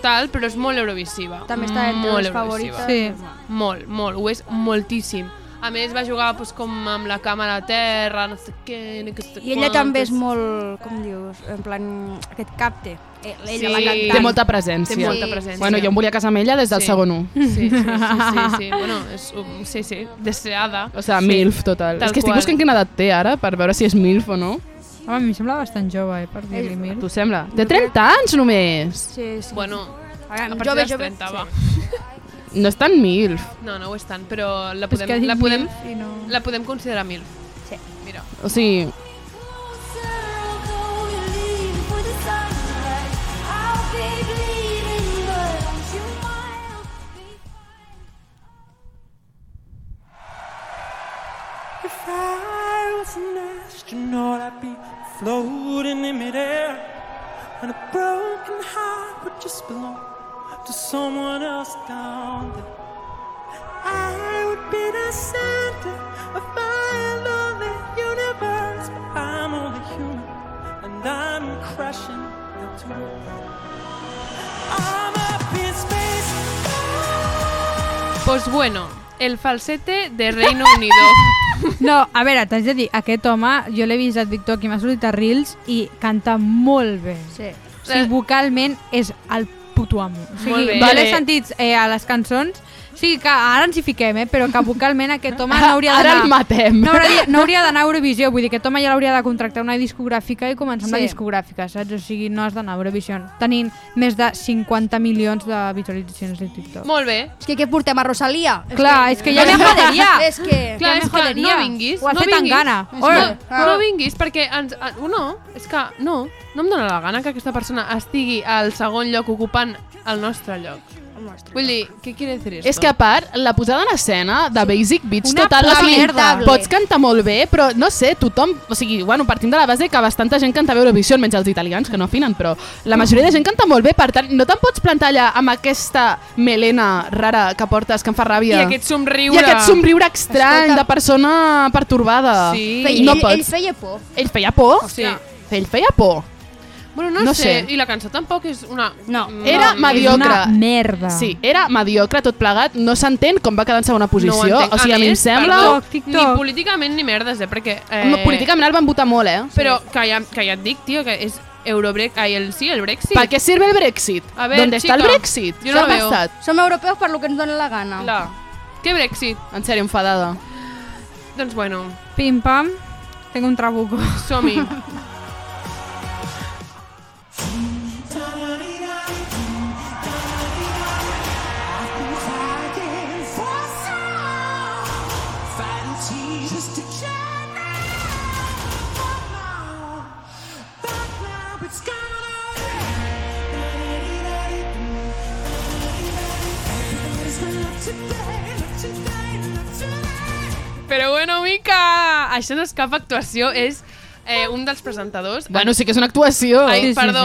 S3: tal, però és molt eurovisiva.
S1: També està entre
S3: Molt
S1: les favorites.
S3: eurovisiva.
S5: Sí.
S3: Molt, molt. Ho és moltíssim. A més, va jugar pues, com amb la càmera a terra, no sé què... No sé
S1: I ella també és
S3: quantos.
S1: molt, com dius, en plan, aquest capte. Eh, Ella,
S3: Sí.
S1: la cantant.
S2: Té molta presència.
S3: Té molta presència.
S2: Bueno, jo em volia casar amb ella des del
S3: Sí.
S2: segon 1.
S3: Sí, sí, sí, sí, sí. Bueno, és, un- sí, sí, deseada.
S2: O sigui, MILF, total.
S3: Tal
S2: és que estic
S3: qual.
S2: buscant quina edat té ara per veure si és MILF o no.
S5: Home, a mi em sembla bastant jove, eh, per dir-li mil.
S2: T'ho sembla? Té 30 anys només!
S1: Sí, sí.
S3: Bueno,
S1: Ara,
S3: a partir
S1: jove,
S3: dels
S1: jove,
S3: 30, va.
S2: No és tan MILF.
S3: No, no ho és tant, però la
S5: És
S1: Pues
S3: podem,
S5: que ha dit
S3: la podem,
S5: mil i no...
S3: la podem considerar mil. Sí. Mira.
S2: O sigui,
S9: If I was an astronaut, I'd be floating in midair. And a broken heart would just belong to someone else down there. I would be the center of my lonely universe. But I'm only human, and I'm crashing into it. I'm up in space.
S3: Pues bueno, el falsete de Reino Unido.
S5: No, a veure, t'haig de dir, aquest home, jo l'he vist a TikTok i m'ha sortit a Reels i canta molt bé.
S1: Sí.
S5: O sigui, vocalment és el puto amo. O sigui,
S3: Eh. Molt bé.
S5: jo l'he
S2: Vale.
S5: sentit eh, a les cançons, o sigui que ara ens hi fiquem, eh, però que vocalment aquest home no hauria
S2: ara
S5: d'anar...
S2: el matem.
S5: No hauria, no hauria d'anar a Eurovisió, vull dir que Toma ja l'hauria de contractar una discogràfica i començar amb
S1: Sí.
S5: la discogràfica, saps? O sigui, no has d'anar a Eurovisió tenint més de 50 milions de visualitzacions de TikTok.
S3: Molt bé.
S1: És que què portem a Rosalia?
S5: Clar, és que ja
S1: no
S5: me
S1: me
S5: joderia.
S1: És que...
S3: Clar,
S5: Ja
S3: és
S5: me
S3: que no
S5: joderia.
S3: vinguis.
S5: Ho has
S3: no
S5: fet amb
S3: vinguis.
S5: gana.
S3: És
S5: Ole.
S3: que
S2: Ah.
S3: No, no vinguis perquè ens... a- No, és que no. No em dóna la gana que aquesta persona estigui al segon lloc ocupant el nostre lloc. Vull dir, què quiere decir esto?
S2: És que a part, la posada en escena de Basic Beats
S5: Una
S2: total, o sigui,
S1: merda.
S2: pots cantar molt bé, però no sé, tothom, o sigui, bueno, partint de la base que bastanta gent canta bé Eurovisió, menys els italians, que no afinen, però la majoria de gent canta molt bé, per tant, no te'n pots plantar allà amb aquesta melena rara que portes, que em fa
S3: I
S2: ràbia.
S3: aquest somriure.
S2: I aquest somriure estrany
S1: Escolta.
S2: de persona pertorbada.
S3: Sí.
S1: Feia,
S2: No
S1: ell,
S2: pots.
S1: ell feia por.
S2: Ell feia por?
S3: Sí.
S2: Ell feia por.
S3: Bueno, no,
S2: No
S3: sé.
S2: sé.
S3: I la cançó tampoc és una...
S1: No.
S2: Era
S3: és
S5: És
S2: mediocre.
S5: una merda.
S2: Sí, era mediocre tot plegat, no s'entén com va quedar en segona
S3: ho
S2: posició.
S3: entenc.
S2: o sigui, a, mi em
S3: més,
S2: sembla...
S5: perdó,
S3: Perdó,
S5: TikTok.
S3: ni políticament ni merdes, eh? Perquè...
S2: Eh...
S3: Eh,
S2: Políticament el van votar molt, eh?
S3: Però que ja, que ja et dic, tio, que és Eurobrexit... Ai, el, sí, el Brexit.
S2: ¿Para qué sirve el Brexit?
S3: A ver,
S2: ¿Dónde está el
S3: chica,
S2: Brexit?
S3: yo
S2: ¿Qué
S3: no
S2: ha
S3: lo veo.
S2: pasado?
S1: Som europeus per lo que ens dona la gana.
S3: Clar. Què Brexit?
S2: En serio, enfadada.
S3: Doncs bueno,
S5: Pim pam, tengo un trabuco.
S3: som-hi.
S9: It's gonna
S3: Però bueno, Mica, això no és cap actuació, és eh, un dels presentadors.
S2: Bueno, sí que és una actuació.
S3: Ai, perdó.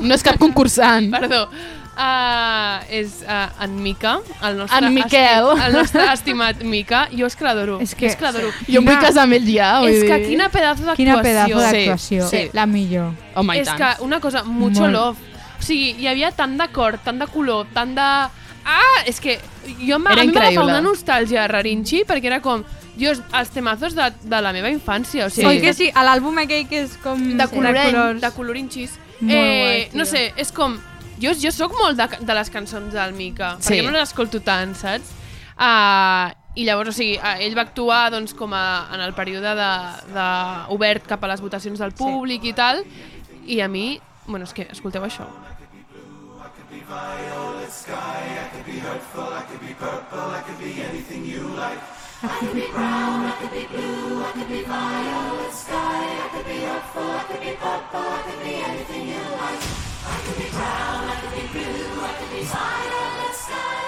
S2: No és cap concursant.
S3: Perdó. Uh, és uh, en Mica, el nostre...
S2: En Miquel.
S3: esti- El nostre estimat Mica. Jo és que l'adoro.
S5: És que-
S3: és que l'adoro.
S2: Jo em vull casar amb ell ja, vull
S3: És que
S2: dir.
S3: quina pedazo d'actuació.
S5: Quina pedazo d'actuació.
S2: Sí, sí.
S5: La millor.
S2: Home, i
S3: és
S2: tant.
S3: que una cosa, mucho
S5: Molt.
S3: love. O sigui, hi havia tant d'acord, tant de color, tant de... Ah, és que jo em va- a
S2: Era
S3: mi m'agafa
S2: increïble.
S3: una nostàlgia a Rarinchi perquè era com, dios, els temazos de, de la meva infància. O
S5: Sí.
S3: sigui,
S5: Oi que sí? A l'àlbum aquell que és com...
S3: de, colorent,
S5: colors.
S3: de colorinxis.
S5: Molt guai,
S3: Eh,
S5: tio.
S3: no sé, és com... Jo, jo sóc molt de, de les cançons del Mica,
S2: Sí.
S3: perquè no les escolto tant, saps? Uh, I llavors, o sigui, uh, ell va actuar doncs, com a, en el període de, de obert cap a les votacions del públic sí. i tal, i a mi, bueno, és que escolteu això.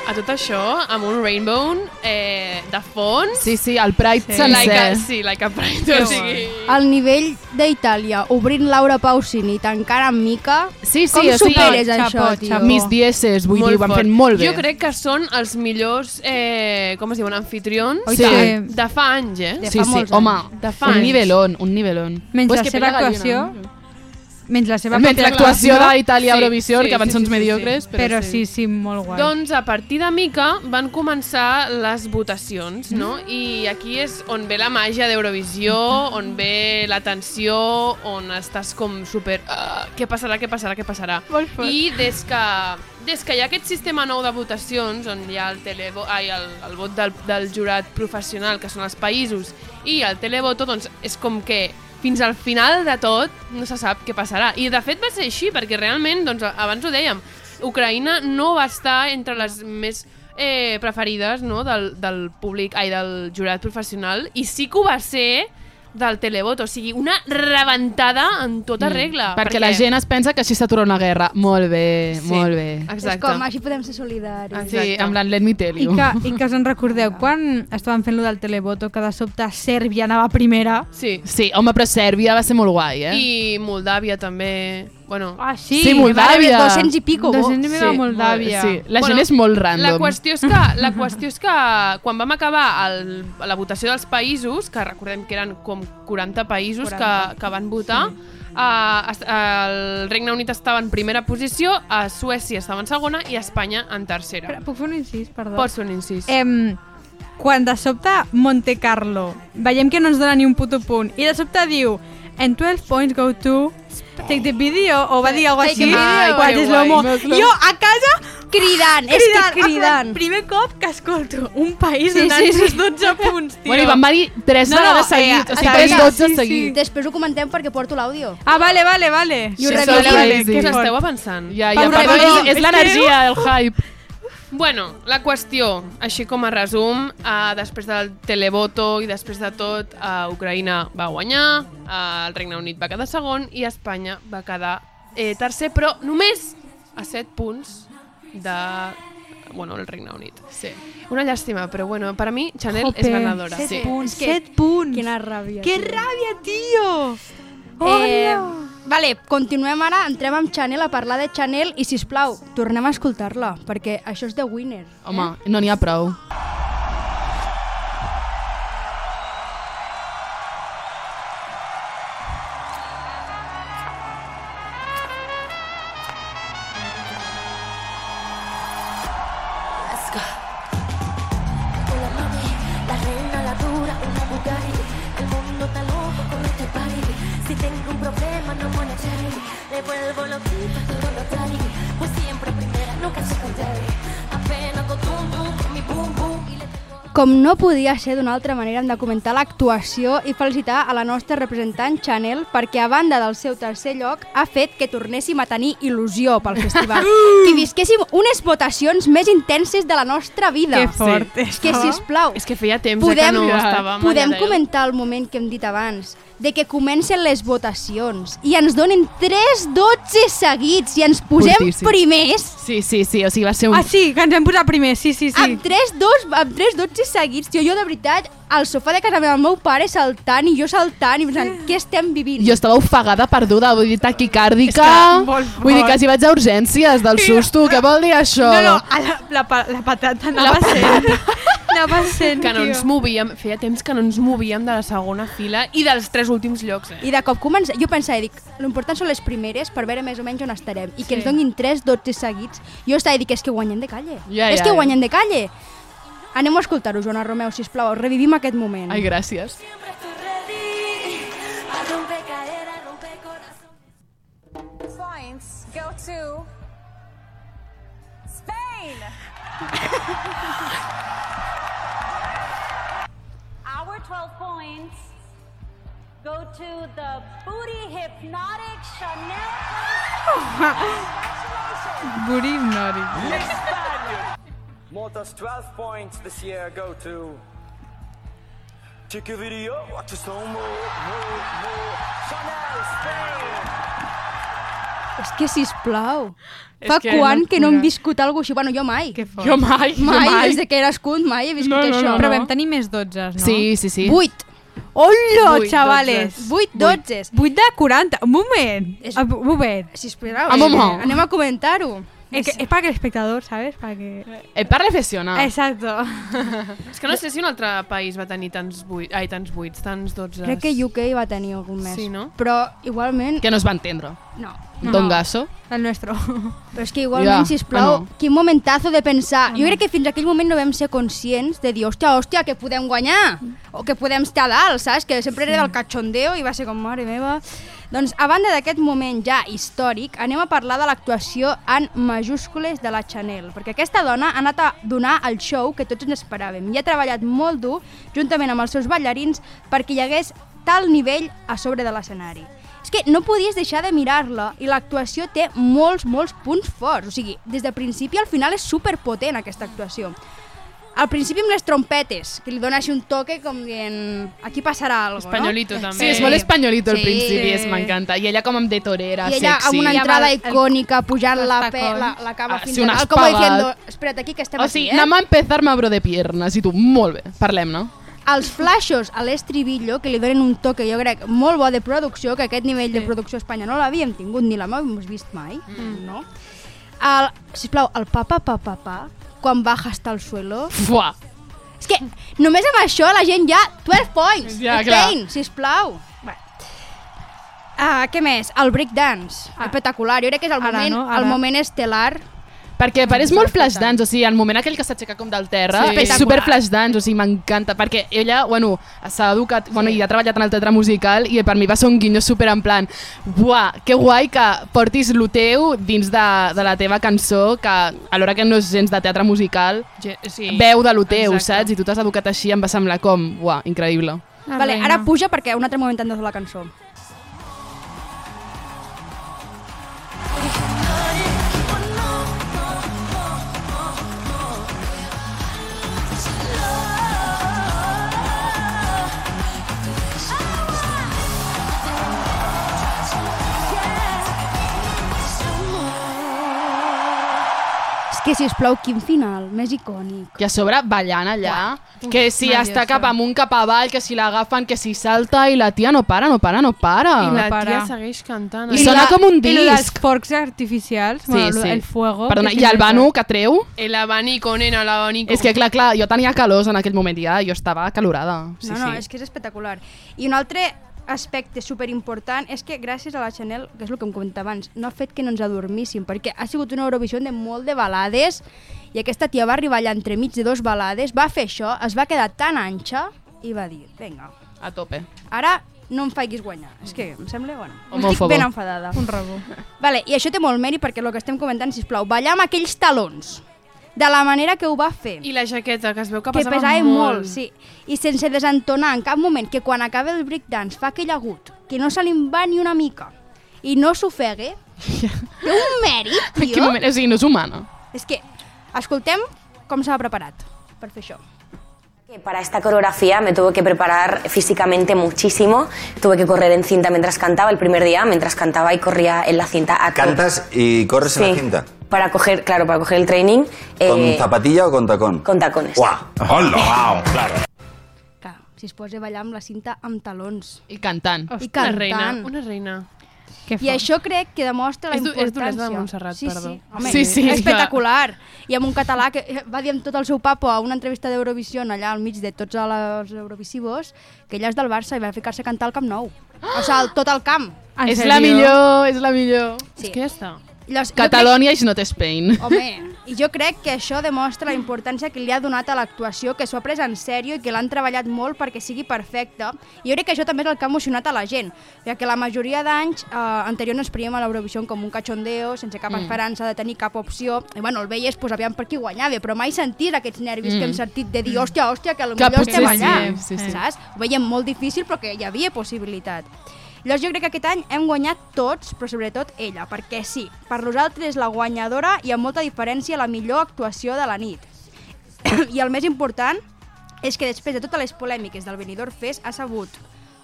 S3: A tot això, amb un rainbow eh, de fons,
S2: Sí, sí, el Pride sí.
S3: like uh,
S2: sencer.
S3: a, sí, like a pride, o sigui...
S1: Al nivell d'Itàlia, obrint Laura Pausini i tancant amb Mica...
S2: Sí, sí,
S1: com
S2: o sigui,
S1: superes
S5: xapó,
S1: això,
S5: xapó.
S1: tio?
S2: Mis dieces, vull dir, ho van
S3: fort.
S2: fent molt bé.
S3: Jo crec que són els millors, eh, com es diuen, anfitrions
S5: Oi,
S2: Sí.
S5: tant.
S3: de fa anys, eh?
S1: De
S2: Sí,
S1: fa
S2: sí,
S1: molts
S2: home,
S1: anys.
S3: De fa
S2: un
S3: anys.
S2: nivelón, un nivelón.
S5: Menys
S2: Pues
S5: la
S2: que
S5: seva
S2: pega
S5: actuació...
S2: gallina, no?
S5: Menys la seva
S2: Menys
S5: pròpia
S2: l'actuació
S5: actuació,
S2: d'Itàlia
S3: Sí,
S2: Eurovisió,
S3: sí,
S2: que
S3: sí,
S2: cançons
S3: sí, sí,
S2: mediocres, però,
S5: Però
S2: sí.
S5: sí, sí, molt guai.
S3: Doncs a partir de mica van començar les votacions, no? I aquí és on ve la màgia d'Eurovisió, on ve la tensió, on estàs com super... "Ah, què passarà, què passarà, què passarà? I des que, des que hi ha aquest sistema nou de votacions, on hi ha el, televo, ai, el, el vot del, del jurat professional, que són els països, i el televoto, doncs és com que fins al final de tot no se sap què passarà. I de fet va ser així, perquè realment, doncs, abans ho dèiem, Ucraïna no va estar entre les més eh, preferides no? del, del públic, ai, del jurat professional, i sí que ho va ser del televot, o sigui, una rebentada en tota regla.
S2: Mm. Perquè la gent es pensa que així s'atura una guerra. Molt bé, sí. Eh, molt bé.
S3: Exacte.
S1: És com, així podem ser solidaris.
S2: Sí,
S3: Exacte.
S2: amb l'en Let Me Tell
S5: I
S2: You.
S5: que, I que us en recordeu, quan estaven fent lo del televoto, que de sobte Sèrbia anava primera.
S3: Sí.
S2: Sí, home, però Sèrbia va ser molt guai, eh?
S3: I Moldàvia també... Bueno,
S5: Ah, sí?
S2: Sí, molt
S1: Va haver
S2: Moldàvia.
S1: 200 i pico vots.
S5: 200 i pico
S2: Sí,
S5: Moldàvia.
S2: Sí, la
S3: Bueno,
S2: gent és molt random.
S3: La qüestió és que, la qüestió és que quan vam acabar el, la votació dels països, que recordem que eren com 40 països Que, que van votar, sí. uh, el Regne Unit estava en primera posició, a Suècia estava en segona i a Espanya en tercera.
S5: Però Puc fer un incís, perdó?
S3: Pots fer un incís.
S1: Eh,
S5: Em, quan de sobte Monte Carlo, veiem que no ens dona ni un puto punt, i de sobte diu en 12 points go to take the video, o va dir alguna cosa
S1: Take the
S5: així,
S3: video.
S5: watch
S3: Ai, que
S5: slow mo.
S2: guai.
S5: Jo a casa
S1: Cridant, és que
S5: cridant,
S1: cridant.
S5: en plan, primer cop que escolto un país
S1: Sí,
S5: sí, donant
S1: sí, sí.
S5: sí, sí. 12 punts, tio.
S2: Bueno, i van venir tres
S5: No,
S2: no,
S5: no,
S2: vegades
S5: eh,
S2: seguits, o sigui,
S5: espera,
S2: tres dotze
S5: sí, sí.
S2: seguits.
S1: Després ho comentem perquè porto l'àudio.
S5: Ah, vale, vale, vale.
S1: I ho
S2: Sí,
S1: revisaré.
S2: sí,
S5: Vale,
S2: sí.
S5: que
S3: Us
S5: fort.
S3: esteu avançant.
S2: Ja, ja,
S5: Pau,
S2: perdó,
S5: perdó,
S2: és, és
S5: és
S2: l'energia, el hype.
S3: Bueno, la qüestió, així com a resum, eh, després del televoto i després de tot, eh, Ucraïna va guanyar, eh, el Regne Unit va quedar segon i Espanya va quedar eh, tercer, però només a 7 punts de bueno, el Regne Unit. Sí. Una llàstima, però bueno, per a mi Chanel és ganadora.
S1: sí, sí.
S5: Punts,
S1: És que-
S5: 7 punts.
S1: Quina ràbia.
S5: Que
S1: tio.
S5: ràbia, tio!
S1: Eh, vale, continuem ara, entrem amb Chanel a parlar de Chanel i, si plau, tornem a escoltar-la, perquè això és The Winner.
S2: Home, no n'hi ha prou.
S7: Let's go. Hola mami, la reina, la dura, una Bugatti. El mundo está loco con este party. Si tengo un problema, no me echaré. Le vuelvo loquita, todo lo trae. Pues siempre primera, nunca se contrae. Apenas con tum tum, con mi boom boom. Y le tengo
S1: Com no podia ser d'una altra manera, hem de comentar l'actuació i felicitar a la nostra representant Chanel perquè, a banda del seu tercer lloc, ha fet que tornéssim a tenir il·lusió pel festival.
S5: Uh!
S1: que visquéssim unes votacions més intenses de la nostra vida.
S5: Que fort.
S1: És que, sisplau,
S3: És que feia temps eh,
S1: podem,
S3: que no estàvem. allà
S1: podem
S3: dalt.
S1: comentar el moment que hem dit abans de que comencen les votacions i ens donen 3-12 seguits i ens posem
S2: Fortíssim.
S1: primers
S2: Sí, sí, sí, o sigui, va ser un...
S5: Ah, sí, que ens hem posat primer, sí,
S1: sí.
S5: sí, sí.
S1: amb 3-2 amb 3-12 seguits, tio, jo de veritat al sofà de casa meva, el meu pare saltant i jo saltant i pensant, què estem vivint?
S2: Ah. Jo estava ofegada, perduda, vull dir,
S5: És
S2: taquicàrdica...
S5: que, molt
S2: vull dir,
S5: fort.
S2: quasi vaig a urgències del susto, què vol dir això?
S5: No, no, a la, la, pa- la patata anava la sent. Anava sent,
S3: Que no ens
S5: tio.
S3: movíem, feia temps que no ens movíem de la segona fila i dels tres últims llocs, eh?
S1: I de cop comença... Jo pensava, dic, l'important són les primeres per veure més o menys on estarem i que ens donguin 3-12 seguits. Jo estava dic, és que guanyem de calle.
S2: Ja,
S1: és
S2: ja,
S1: que
S2: ja.
S1: guanyem de calle. Anem a escoltar-ho, Joana Romeu, sisplau, revivim aquest moment.
S2: Ai, gràcies.
S7: Siempre estoy ready. A romper cadera, romper corazón.
S10: points go to Spain. Our 12 points go to the Booty Hypnotic Chanel.
S5: Booty naughty.
S11: Malta's 12 points this year go to. Check your video, watch a slow mo, mo, mo. Chanel, Spain.
S1: És que, sisplau,
S3: És
S1: fa
S3: que
S1: quan que no hem
S5: locura.
S1: viscut alguna cosa així? Bueno, jo mai.
S5: Que fort.
S2: Jo mai, jo
S1: mai,
S2: mai.
S1: des de que he nascut, mai he viscut
S2: No, no,
S1: això.
S2: no,
S5: Però vam tenir més 12, no?
S2: Sí, sí, sí.
S1: 8.
S5: Hola,
S3: Vuit,
S5: xavales.
S3: dotze.
S1: 8, 12.
S5: 8 de 40. Un moment.
S1: És-
S5: Ah, Un moment.
S1: Sisplau,
S2: Un
S1: eh,
S2: moment.
S1: anem a comentar-ho.
S5: Es, que, es para que el espectador, ¿sabes? Para que...
S2: Eh, per reflexionar.
S5: Exacto.
S3: És que no sé si un altre país va tenir tants buits, ai, tants buits, tants dotze.
S1: Crec que UK va tenir algun més.
S3: Sí, no?
S1: Però igualment...
S2: Que no es va entendre.
S1: No.
S2: Don Gasso.
S5: El nuestro.
S1: Però és que igualment,
S2: Ja,
S1: ja, sisplau,
S2: ah, no.
S1: quin momentazo de pensar. Jo crec que fins aquell moment no vam ser conscients de dir, hòstia, hòstia, que podem guanyar, o que podem estar a dalt, saps? Que sempre era del cachondeo i va ser com, mare meva... Doncs, a banda d'aquest moment ja històric, anem a parlar de l'actuació en majúscules de la Chanel, perquè aquesta dona ha anat a donar el show que tots ens esperàvem i ha treballat molt dur, juntament amb els seus ballarins, perquè hi hagués tal nivell a sobre de l'escenari. És que no podies deixar de mirar-la i l'actuació té molts, molts punts forts. O sigui, des de principi al final és superpotent aquesta actuació. Al principi amb les trompetes, que li dona així un toque com dient... Aquí passarà alguna
S3: Espanyolito,
S1: no?
S3: també.
S2: Sí, és molt espanyolito al
S1: Sí.
S2: principi, és m'encanta. I ella com amb de torera,
S1: I ella
S2: sexy.
S1: amb una entrada
S5: el-
S1: icònica, pujant
S5: els
S1: la, pe,
S5: tacons.
S1: la, la cama
S2: Ah,
S1: fins
S2: sí, Oh, un
S1: a dalt, com
S2: espagat.
S1: diciendo, espera't aquí que estem
S2: O
S1: aquí,
S2: sigui,
S1: eh?
S2: anem a empezar m'abro de piernas. I tu, molt bé, parlem, no?
S1: els flashos a l'estribillo, que li donen un toque, jo crec, molt bo de producció, que aquest nivell de producció a Espanya no l'havíem tingut ni la l'havíem vist mai, mm. no? El, sisplau, el papa, papa, papa, quan baja hasta el suelo...
S2: Fuà.
S1: És que només amb això la gent ja... 12 points!
S2: Ja,
S1: Spain, sisplau! Bueno. Ah, què més? El breakdance. Ah. Espectacular. Jo crec que és el
S5: Ara,
S1: moment,
S5: no? Ara.
S1: el moment estel·lar
S2: Perquè pareix molt flashdance, o sigui, el moment aquell que s'aixeca com del terra
S3: Sí.
S2: sí. és super flashdance, o sigui, m'encanta, perquè ella, bueno, s'ha educat, bueno, i ha treballat en el teatre musical i per mi va ser un guinyo super en plan, buah, que guai que portis lo teu dins de, de la teva cançó, que alhora que no és gens de teatre musical,
S3: Ge- Sí.
S2: veu de lo teu,
S3: Exacte.
S2: saps? I tu t'has educat així, em va semblar com, buah, increïble.
S1: Vale, ara puja perquè un altre moment t'endós la cançó. És que, sisplau, quin final més icònic.
S2: I a sobre ballant allà, que si
S3: mare
S2: està
S3: Dios,
S2: cap amunt, cap avall, que si l'agafen, que si salta, i la tia no para, no para, no para.
S3: I la tia
S5: para.
S3: segueix cantant.
S2: I sona com un
S5: Y lo de las
S2: disc.
S5: forks artificials, bueno, lo- el fuego.
S2: Perdona,
S5: que
S2: i el
S5: siempre-
S2: Banu que treu...
S3: El abanico, nena, el abanico.
S2: És que, clar, clar, jo tenia calors en aquell moment ja, jo estava calorada. Sí,
S1: no, no,
S2: sí.
S1: és que és espectacular. I un altre aspecte superimportant és que gràcies a la Chanel, que és el que em comentava abans, no ha fet que no ens adormíssim, perquè ha sigut una Eurovisió de molt de balades i aquesta tia va arribar allà entremig de dos balades, va fer això, es va quedar tan anxa i va dir, vinga,
S2: A tope.
S1: ara no em facis guanyar. És que em sembla, bueno, estic
S2: Homòfobo.
S1: ben enfadada.
S5: Un rabo.
S1: Vale, I això té molt mèrit perquè el que estem comentant, sisplau, ballar amb aquells talons, de la manera que ho va fer
S3: I la jaqueta, que es veu que,
S1: que
S3: pesava,
S1: pesava molt.
S3: molt.
S1: sí. I sense desentonar en cap moment, que quan acaba el breakdance fa aquell agut, que no se li en va ni una mica, i no s'ofegue, té un mèrit,
S2: En quin
S1: tio.
S2: moment? O sigui, no és humana.
S1: És que, escoltem com s'ha preparat per fer això.
S12: Que para esta coreografía me tuve que preparar físicamente muchísimo. Tuve que correr en cinta mientras cantaba el primer día, mientras cantaba y corría en la cinta. A todo.
S13: Cantas y corres en
S12: Sí.
S13: la cinta.
S12: Para coger, claro, para coger el training.
S13: ¿Con
S12: eh,
S13: zapatilla o con tacón?
S12: con tacones.
S13: ¡Guau! ¡Hola! ¡Guau! Claro.
S1: Clar, si es posa a ballar amb la cinta amb talons.
S2: I cantant.
S1: I
S3: Hòstia,
S1: cantant.
S3: una reina, una reina. Que
S1: I això crec que demostra la
S3: És du- és
S1: importància.
S3: Dolors de Montserrat,
S1: sí,
S3: perdó.
S1: Sí, home,
S3: Sí, sí, és que-
S1: espectacular. I amb un català que eh, va dir amb tot el seu papo a una entrevista d'Eurovisió allà al mig de tots els eurovisivos que ella és del Barça i va ficar-se a cantar al Camp Nou. O sigui, al- tot el camp.
S2: És la millor, és la millor.
S1: Sí. És
S3: que ja està.
S1: Los,
S2: Catalònia is not Spain.
S1: Home, i jo crec que això demostra la importància que li ha donat a l'actuació, que s'ho ha pres en sèrio i que l'han treballat molt perquè sigui perfecta. I jo crec que això també és el que ha emocionat a la gent, ja que la majoria d'anys eh, anteriors ens preiam a l'Eurovisió com un cachondeo, sense cap
S6: Mm.
S1: mm. esperança de tenir cap opció. I bueno, el veies, pues, aviam per qui guanyava, però mai sentir aquests nervis
S6: Mm.
S1: mm. que hem sentit de dir, hòstia, hòstia, que
S6: Que
S1: potser estem
S6: potser sí,
S1: allà,
S6: sí, sí.
S1: saps? Ho veiem molt difícil, però que hi havia possibilitat. Llavors jo crec que aquest any hem guanyat tots, però sobretot ella, perquè sí, per nosaltres és la guanyadora i amb molta diferència la millor actuació de la nit. I el més important és que després de totes les polèmiques del Benidorm Fest ha sabut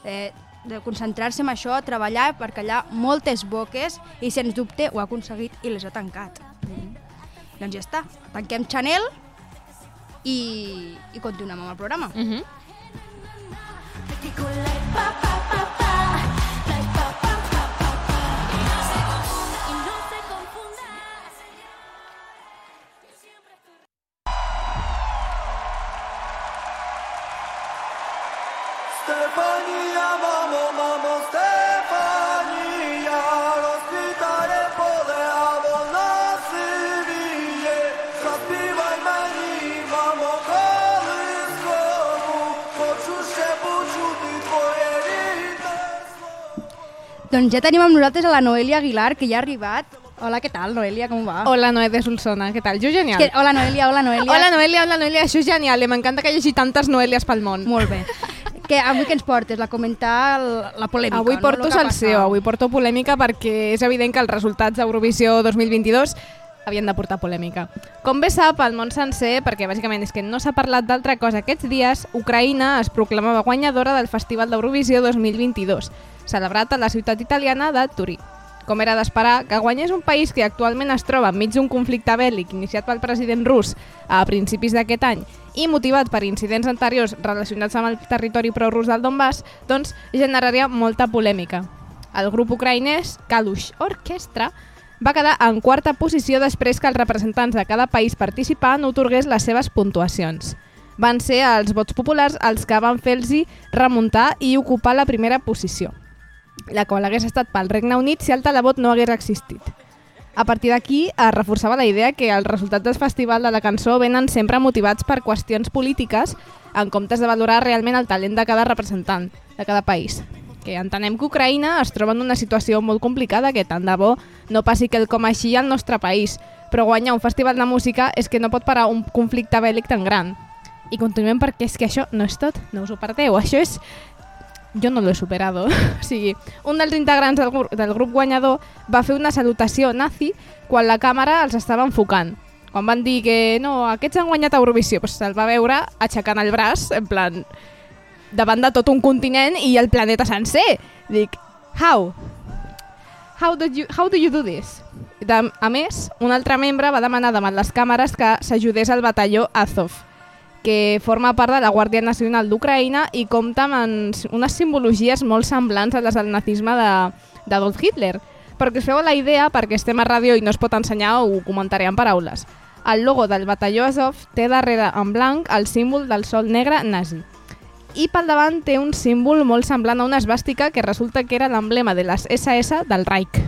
S1: eh, de concentrar-se en això, treballar per callar moltes boques i sens dubte ho ha aconseguit i les ha tancat.
S6: Mm.
S1: Doncs ja està, tanquem Chanel i, i continuem amb el programa. Mm -hmm.
S8: Stefania, vamos, vamos, Stefania, los gritaré podemos na Sibilje, zaspivaj meni, mamo, kolinskomu, hoću se počuti tvoje rite.
S1: Doncs ja tenim amb nosaltres a la Noelia Aguilar, que ja ha arribat. Hola, què tal, Noelia, com va?
S14: Hola, Noé de Solsona, què tal? Jo genial.
S1: Que, hola, Noelia, hola, Noelia.
S14: Hola, Noelia, hola, Noelia, això és genial. eh? M'encanta que hi hagi tantes Noelias pel món.
S1: Molt bé. Que avui que ens portes? La comentar el- la polèmica.
S14: Avui
S1: no?
S14: porto
S1: Lo que ha
S14: no,
S1: passat.
S14: salseo, avui porto polèmica perquè és evident que els resultats d'Eurovisió 2022 havien de portar polèmica. Com bé sap, el món sencer, perquè bàsicament és que no s'ha parlat d'altra cosa aquests dies, Ucraïna es proclamava guanyadora del Festival d'Eurovisió 2022, celebrat a la ciutat italiana de Turí. Com era d'esperar, que guanyés un país que actualment es troba enmig d'un conflicte bèl·lic iniciat pel president rus a principis d'aquest any i motivat per incidents anteriors relacionats amb el territori prorus del Donbass, doncs generaria molta polèmica. El grup ucraïnès Kalush Orchestra va quedar en quarta posició després que els representants de cada país participant otorgués les seves puntuacions. Van ser els vots populars els que van fer-los remuntar i ocupar la primera posició la qual hagués estat pel Regne Unit si el televot no hagués existit. A partir d'aquí es reforçava la idea que els resultats del Festival de la Cançó venen sempre motivats per qüestions polítiques en comptes de valorar realment el talent de cada representant, de cada país. Que entenem que Ucraïna es troba en una situació molt complicada que tant de bo no passi quelcom així al nostre país, però guanyar un festival de música és que no pot parar un conflicte bèl·lic tan gran. I continuem perquè és que això no és tot, no us ho perdeu, això és jo no lo he superado. o sigui, un dels integrants del, gru- del grup guanyador va fer una salutació nazi quan la càmera els estava enfocant. Quan van dir que no, aquests han guanyat Eurovisió, doncs se'l va veure aixecant el braç, en plan, davant de tot un continent i el planeta sencer. Dic, how? How do you, how do, you do this? De, a més, un altre membre va demanar davant les càmeres que s'ajudés al batalló Azov, que forma part de la Guàrdia Nacional d'Ucraïna i compta amb ens- unes simbologies molt semblants a les del nazisme de- d'Adolf Hitler. Perquè us feu la idea, perquè estem a ràdio i no es pot ensenyar, ho comentaré en paraules. El logo del batalló Azov té darrere en blanc el símbol del sol negre nazi. I pel davant té un símbol molt semblant a una esbàstica que resulta que era l'emblema de les SS del Reich.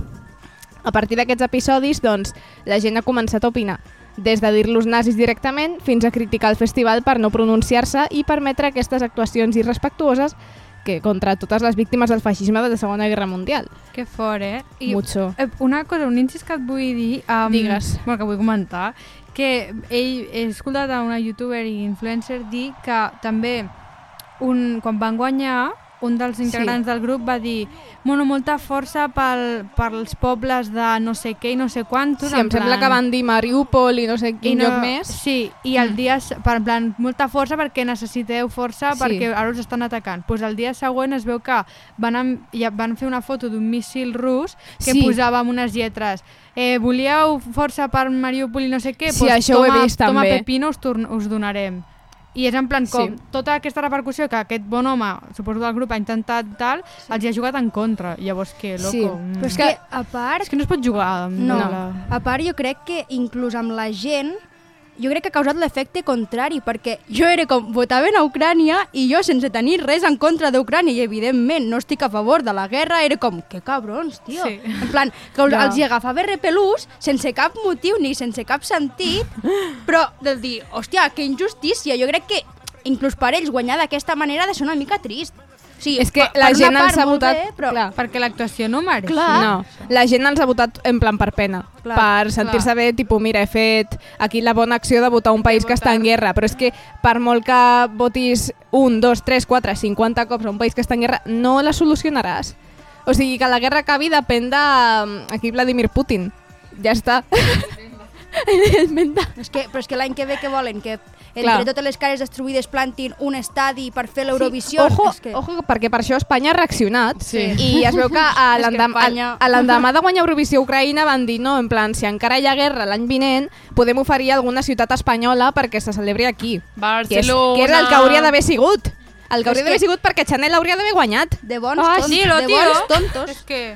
S14: A partir d'aquests episodis, doncs, la gent ha començat a opinar. Des de dir-los nazis directament fins a criticar el festival per no pronunciar-se i permetre aquestes actuacions irrespectuoses que contra totes les víctimes del feixisme de la Segona Guerra Mundial.
S5: Que fort, eh?
S14: Mucho.
S5: eh, Una cosa, un incís que et vull dir... Um,
S14: Digues.
S5: Bueno, que vull comentar, que ell, he escoltat a una youtuber i influencer dir que també un, quan van guanyar un dels integrants sí. del grup va dir bueno, molta força pel, pels pobles de no sé què i no sé quantos.
S14: Sí, em sembla que van dir Mariupol i no sé quin lloc més. Mm.
S5: Sí, i el dia, s- per en plan, molta força perquè necessiteu força
S14: Sí.
S5: perquè ara us estan atacant. Pues el dia següent es veu que van, em- ja van fer una foto d'un míssil rus que
S14: Sí.
S5: posava amb unes lletres eh, volíeu força per Mariupol i no sé què?
S14: Sí,
S5: pues
S14: això ho he
S5: toma,
S14: vist,
S5: toma
S14: també.
S5: Pepino, us, torn- us donarem. I és en plan com
S14: Sí.
S5: sí. tota aquesta repercussió que aquest bon home, suposo del grup, ha intentat tal, sí. els hi ha jugat en contra. Llavors, que, loco...
S1: Sí.
S5: mm.
S1: Però és que, a part...
S5: És que no es pot jugar amb
S1: No.
S5: la...
S1: A part, jo crec que inclús amb la gent jo crec que ha causat l'efecte contrari, perquè jo era com, votaven a Ucrània i jo sense tenir res en contra d'Ucrània i evidentment no estic a favor de la guerra, era com, que cabrons, tio.
S5: Sí.
S1: Sí. En plan, que
S5: Ja.
S1: ja. els hi agafava repelús sense cap motiu ni sense cap sentit, però de dir, hòstia, que injustícia, jo crec que inclús per ells guanyar d'aquesta manera ha de ser una mica trist. O sigui,
S14: És que
S1: per-
S14: la
S1: per una
S14: gent
S1: part
S14: ens ha
S1: molt
S14: votat...
S1: Bé, però...
S14: clar.
S5: Perquè l'actuació no mereix.
S1: Clar.
S14: No, la gent ens ha votat en plan per pena,
S1: Clar,
S14: per sentir-se
S1: clar.
S14: bé, tipus, mira, he fet aquí la bona acció de votar un país que està en guerra, però és que per molt que votis un, dos, tres, quatre, 50 cops a un país que està en guerra, no la solucionaràs. O sigui, que la guerra acabi depèn de... mm, Aquí Vladimir Putin. Ja està.
S1: És que, però és que l'any que ve que volen? Que entre
S14: Clar.
S1: Clar. totes les cares destruïdes plantin un estadi per fer
S14: Sí,
S1: l'Eurovisió?
S14: ojo,
S1: és que...
S14: ojo, perquè per això Espanya ha reaccionat sí.
S1: Sí.
S14: i es veu que a
S1: És que
S14: l'endemà
S1: Espanya-
S14: a l'endemà de guanyar Eurovisió a Ucraïna van dir no, en plan, si encara hi ha guerra l'any vinent, podem oferir alguna ciutat espanyola perquè se celebri aquí. Que és,
S3: Barcelona...
S14: que és el que hauria d'haver sigut. El que
S3: És
S14: hauria d'haver
S3: que-
S14: sigut perquè Chanel hauria d'haver guanyat.
S1: De bons
S14: Ah,
S1: tontos.
S14: sí, lo
S1: de
S14: tio.
S1: bons tontos. És
S5: que...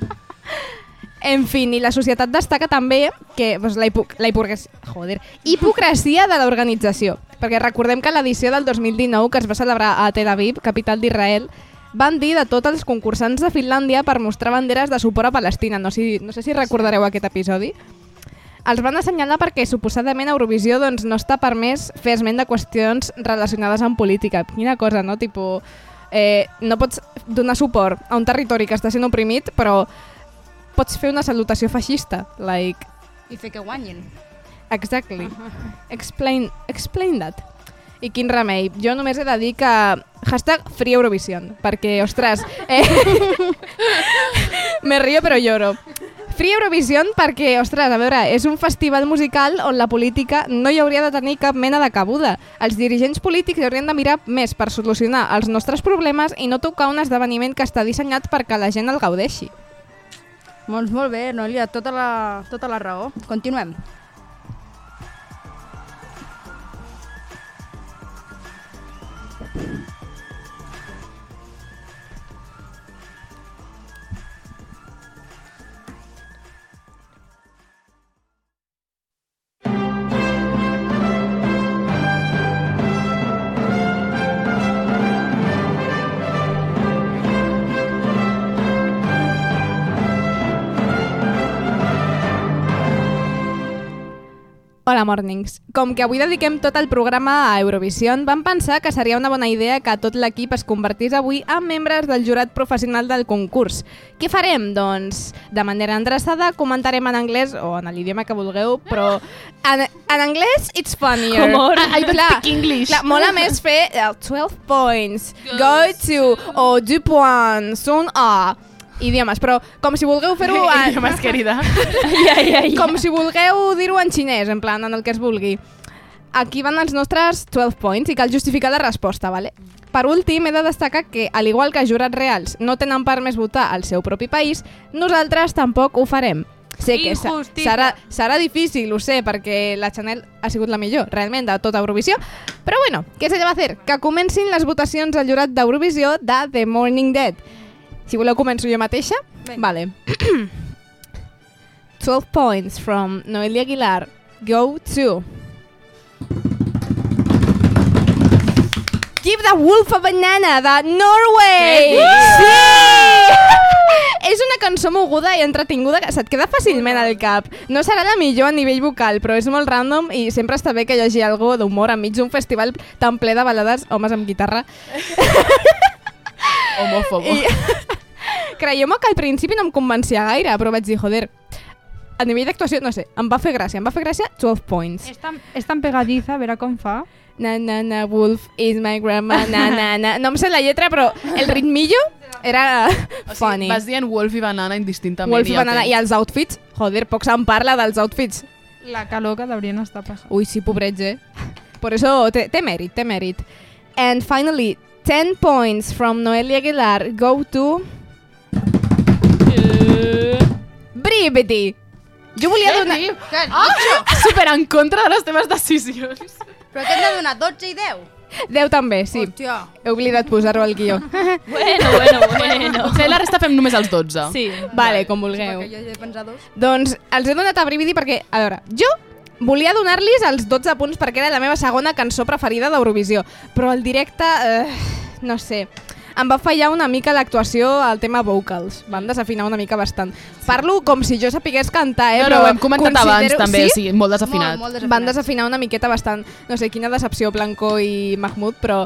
S14: En fin, i la societat destaca també que pues, la, hipo la hipocres- joder, hipocresia de l'organització. Perquè recordem que l'edició del 2019, que es va celebrar a Tel Aviv, capital d'Israel, van dir de tots els concursants de Finlàndia per mostrar banderes de suport a Palestina. No, si, no sé si recordareu aquest episodi. Els van assenyalar perquè suposadament a Eurovisió doncs, no està permès fer esment de qüestions relacionades amb política. Quina cosa, no? Tipo, eh, no pots donar suport a un territori que està sent oprimit, però pots fer una salutació feixista. Like,
S1: I fer que guanyin.
S14: exactly. Explain, explain that. I quin remei. Jo només he de dir que hashtag Free Eurovision, perquè, ostres, eh, me río però lloro. Free Eurovision perquè, ostres, a veure, és un festival musical on la política no hi hauria de tenir cap mena de cabuda. Els dirigents polítics haurien de mirar més per solucionar els nostres problemes i no tocar un esdeveniment que està dissenyat perquè la gent el gaudeixi.
S1: Doncs molt bé, Noelia, tota la, tota la raó. Continuem.
S14: Hola, Mornings. Com que avui dediquem tot el programa a Eurovision, vam pensar que seria una bona idea que tot l'equip es convertís avui en membres del jurat professional del concurs. Què farem? Doncs, de manera endreçada, comentarem en anglès, o en l'idioma que vulgueu, però en, en anglès it's funnier.
S2: Humor.
S14: Ah,
S2: I don't
S14: clar,
S2: speak English.
S14: Clar, mola més fer eh, 12 points, go to, o du point, son a... Idiomes, però com si vulgueu fer-ho... eh, en-
S2: Idiomes, querida.
S14: com si vulgueu dir-ho en xinès, en plan, en el que es vulgui. Aquí van els nostres 12 points i cal justificar la resposta, vale? Per últim, he de destacar que, al igual que els jurats reals no tenen per més votar al seu propi país, nosaltres tampoc ho farem. Sé que se-
S5: Injustícia.
S14: serà, serà difícil, ho sé, perquè la Chanel ha sigut la millor, realment, de tota Eurovisió. Però bueno, què se li va a fer? Que comencin les votacions al jurat d'Eurovisió de The Morning Dead. Si voleu, començo jo mateixa.
S1: Vinga.
S14: Vale. 12 points from Noelia Aguilar. Go to. Give the Wolf a Banana de Norway!
S7: Què dius?
S14: Sí! és una cançó moguda i entretinguda que se't queda fàcilment al cap. No serà la millor a nivell vocal, però és molt random i sempre està bé que hi hagi algo d'humor enmig d'un festival tan ple de balades homes amb guitarra.
S2: Homòfobo.
S14: I... Creieu-me que al principi no em convencia gaire, però vaig dir, joder, a nivell d'actuació, no sé, em va fer gràcia, em va fer gràcia 12 points.
S5: És tan, és tan pegadiza, a veure com fa.
S14: Na, na, na, wolf is my grandma, na, na, na. No em sé la lletra, però el ritmillo era funny.
S2: Vas dient Wolf i Banana indistintament.
S14: Wolf
S2: i
S14: i
S2: ja
S14: Banana.
S2: tens.
S14: I els outfits? Joder, poc se'n parla dels outfits.
S5: La calor que deurien estar passant.
S14: Ui, sí, pobrets, eh? Por eso, té, té mèrit, té mèrit. And finally, 10 points from Noelia Aguilar go to... Brivity! Jo volia
S2: Què
S14: donar...
S2: diu?
S14: Ah!
S2: Eh, Super en contra de les teves decisions.
S1: Però t'hem de donar 12 i 10.
S14: 10 també, sí.
S1: Hòstia.
S14: He oblidat posar-ho al guió.
S6: Bueno, bueno, bueno.
S2: Potser la resta fem només els 12.
S6: Sí.
S14: Vale, com vulgueu.
S1: Jo he pensat dos.
S14: Doncs els he donat a Brividi perquè, a veure, jo volia donar-los els 12 punts perquè era la meva segona cançó preferida d'Eurovisió, però el directe, eh, no sé, em va fallar una mica l'actuació al tema vocals. Van desafinar una mica bastant. Parlo com si jo sapigués cantar, eh?
S2: No, no,
S14: però
S2: ho hem comentat abans,
S14: considero-
S2: també, sí, molt
S1: desafinat. Molt, molt desafinat.
S14: Van desafinar una miqueta bastant. No sé, quina decepció Blanco i Mahmoud, però...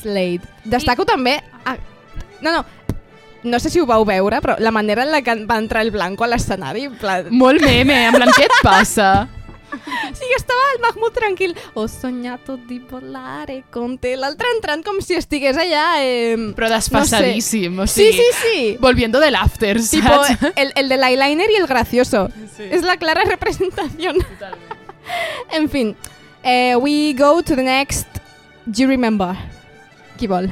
S14: Slade. Destaco I... també... A... No, no, no sé si ho vau veure, però la manera en la que va entrar el Blanco a l'escenari, en plan...
S2: Molt meme, en plan, què et passa?
S14: Sí, estava el Mahmoud tranquil. Ho sognato di volare con te. L'altre entrant com si estigués allà... Eh,
S2: Però desfassadíssim,
S14: No
S2: o
S14: sé.
S2: sigui...
S14: Sí, sí, sí.
S2: Volviendo del after, saps?
S14: Tipo, el, el del eyeliner y el gracioso. Es la clara representación. en fin. Eh, we go to the next... Do you remember? Qui vol?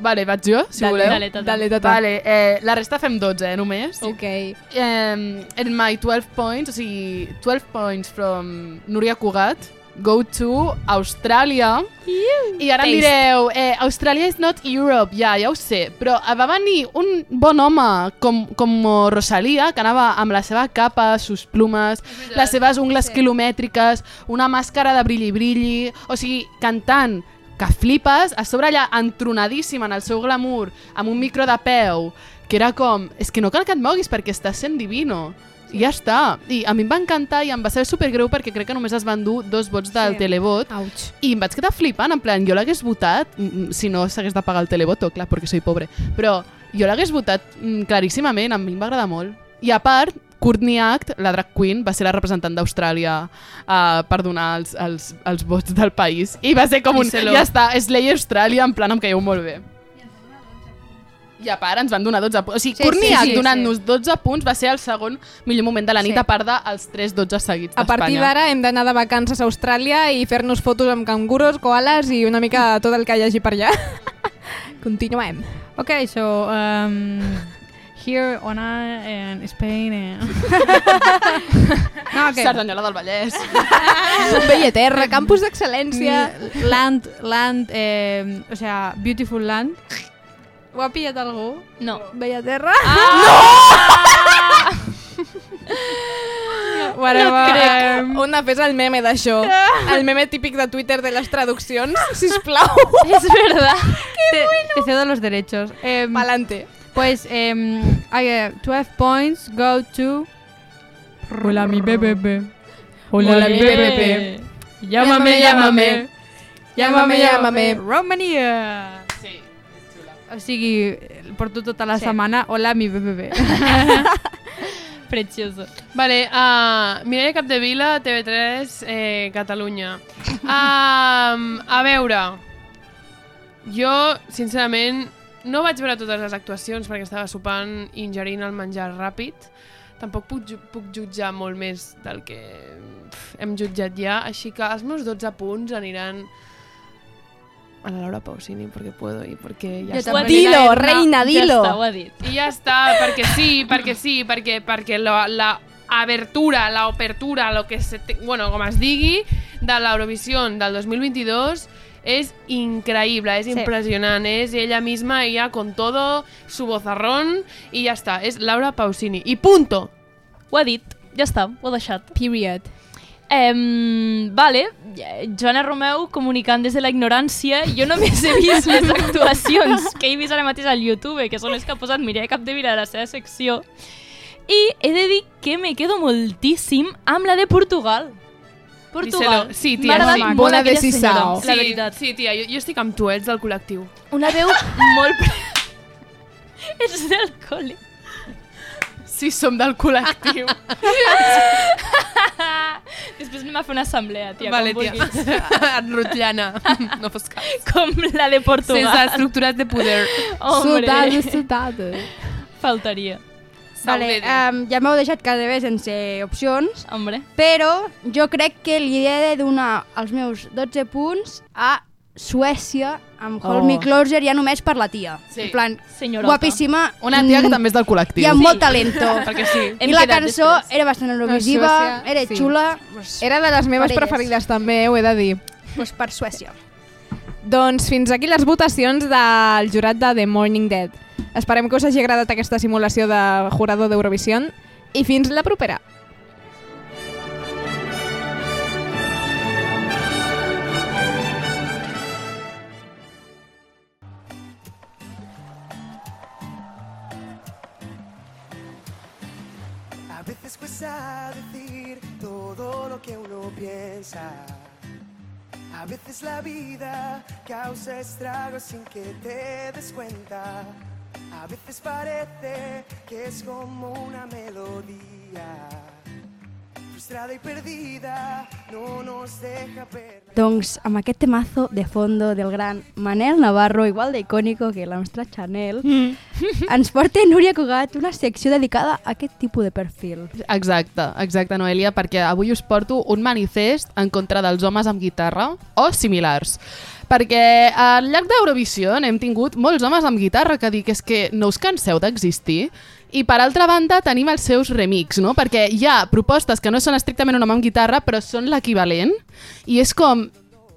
S2: Vale, vaig jo, si
S14: Dale,
S2: voleu.
S14: dale, tata. Dale, tata.
S2: Vale, eh, la resta fem 12, eh, només.
S14: Ok.
S2: Um, and my 12 points, o sigui, 12 points from Núria Cugat, go to Austràlia. I ara
S3: Taste.
S2: em direu, eh, Austràlia is not Europe, ja, ja ho sé, però eh, va venir un bon home com, com Rosalia, que anava amb la seva capa, sus plumes, les seves ungles quilomètriques, una màscara de brilli-brilli, o sigui, cantant que flipes, a sobre allà entronadíssima en el seu glamour, amb un micro de peu, que era com, és que no cal que et moguis perquè estàs sent divino. I ja està. I a mi em va encantar i em va ser supergreu perquè crec que només es van dur dos vots del
S14: Sí.
S2: televot.
S14: Ouch.
S2: I em vaig quedar flipant, en plan, jo l'hagués votat, mm, mm, si no s'hagués de pagar el televot, oh, clar, perquè soy pobre, però jo l'hagués votat mm, claríssimament, a mi em va agradar molt. I a part, Courtney Act, la drag queen, va ser la representant d'Austràlia eh, per donar els, els, els vots del país. I va ser com un...
S3: Díselo.
S2: Ja està, Slay Austràlia, en plan, em caieu molt bé. I a part ens van donar 12 punts. O sigui,
S3: Sí,
S2: sí, Courtney
S3: sí,
S2: Act
S3: sí,
S2: donant-nos 12 punts va ser el segon millor moment de la nit,
S14: Sí.
S2: sí. a part dels 3-12 seguits
S14: A
S2: d'Espanya.
S14: partir d'ara hem d'anar de vacances a Austràlia i fer-nos fotos amb canguros, koalas i una mica tot el que hi hagi per allà. Continuem.
S5: Okay, so um, here on I and Spain and no,
S2: Cerdanyola del Vallès.
S14: Bella terra, campus d'excel·lència.
S5: Mi- Land, land, eh, o sea, beautiful land. Ho ha pillat algú?
S6: No.
S5: Bella terra?
S14: Ah!
S5: No! Whatever. um,
S14: On fes el meme d'això? El meme típic de Twitter de les traduccions, sisplau.
S5: Es verdad. te, te cedo los derechos. Em,
S14: Pa'lante.
S5: Pues, em, I get 12 points go to... Hola, mi bebé.
S14: Hola, mi bebé.
S5: Llámame, llámame. Llámame, llámame.
S14: Llámame.
S5: Romania. Sí, o sigui, porto tota la
S6: Sí.
S5: setmana Hola, mi bebé.
S6: Precioso.
S3: Vale, uh, Mireia Capdevila, TV3, eh, Catalunya. Um, a veure, jo, sincerament, no vaig veure totes les actuacions perquè estava sopant i ingerint el menjar ràpid. Tampoc puc, ju- puc jutjar molt més del que pf, hem jutjat ja, així que els meus 12 punts aniran a la Laura Pausini, perquè puedo i perquè ja
S14: Jo
S3: està.
S14: també. Dilo, reina, dilo.
S6: Ja està, ho ha dit.
S3: I ja està, perquè sí, perquè sí, perquè, perquè la, la abertura, la opertura, lo que se te, bueno, com es digui, de l'Eurovisió del 2022 és increïble, és
S6: Sí.
S3: impressionant, és ella misma, ella con todo, su vozarrón, i ja està, és Laura Pausini. I punto!
S6: Ho ha dit, ja està, ho ha deixat.
S14: Period.
S6: Um, vale, eh, Joana Romeu comunicant des de la ignorància. Jo només he vist les actuacions que he vist ara mateix al YouTube, que són les que ha posat Mireia Capdevila a la seva secció. I he de dir que me quedo moltíssim amb la de Portugal. Portugal.
S3: Díselo. Sí,
S6: M'ha
S3: tia,
S6: agradat
S3: sí.
S6: molt aquella senyora,
S3: Sí,
S6: La veritat.
S3: Sí, tia, jo, jo estic amb tu, ets del col·lectiu.
S6: Una veu molt... pre- Ets del col·le.
S2: si som del col·lectiu.
S6: Després anem a fer una assemblea, tia,
S3: Vale,
S6: com
S3: tia.
S6: vulguis.
S3: Rutllana. No fos cas.
S6: Com la de Portugal.
S3: Sense estructures de poder.
S6: Hombre.
S1: Soldado, soldado.
S6: Faltaria.
S1: Vale, um, ja m'heu deixat gairebé sense opcions.
S6: Hombre.
S1: Però jo crec que li he de donar els meus 12 punts a Suècia amb Hold
S2: Oh.
S1: Me Closer ja només per la tia.
S6: Sí,
S1: En plan,
S6: senyorota.
S1: guapíssima.
S2: Una tia que
S1: mm,
S2: també és del col·lectiu.
S1: Hi ha molt talento.
S2: Perquè sí.
S1: I la cançó era bastant eurovisiva,
S14: Suècia,
S1: era
S14: sí.
S1: xula...
S14: Era de les meves
S1: per elles.
S14: preferides també, ho he de dir.
S1: Doncs per Suècia.
S14: Doncs fins aquí les votacions del jurat de The Morning Dead. Esperem que us hagi agradat aquesta simulació de jurador d'Eurovisió i fins la propera.
S15: A veces cuesta decir todo lo que uno piensa. A veces la vida causa estragos sin que te des cuenta. A veces parece que es como una melodía. Frustrada y perdida, no nos deja ver.
S1: Doncs amb aquest temazo de fondo del gran Manel Navarro, igual de icònico que la nostra Chanel, mm. ens porta Núria Cugat una secció dedicada a aquest tipus de perfil.
S2: Exacte, exacte, Noelia, perquè avui us porto un manifest en contra dels homes amb guitarra o similars. Perquè al llarg d'Eurovisió hem tingut molts homes amb guitarra que dic és que no us canseu d'existir. I per altra banda tenim els seus remix, no? Perquè hi ha propostes que no són estrictament un home amb guitarra però són l'equivalent i és com,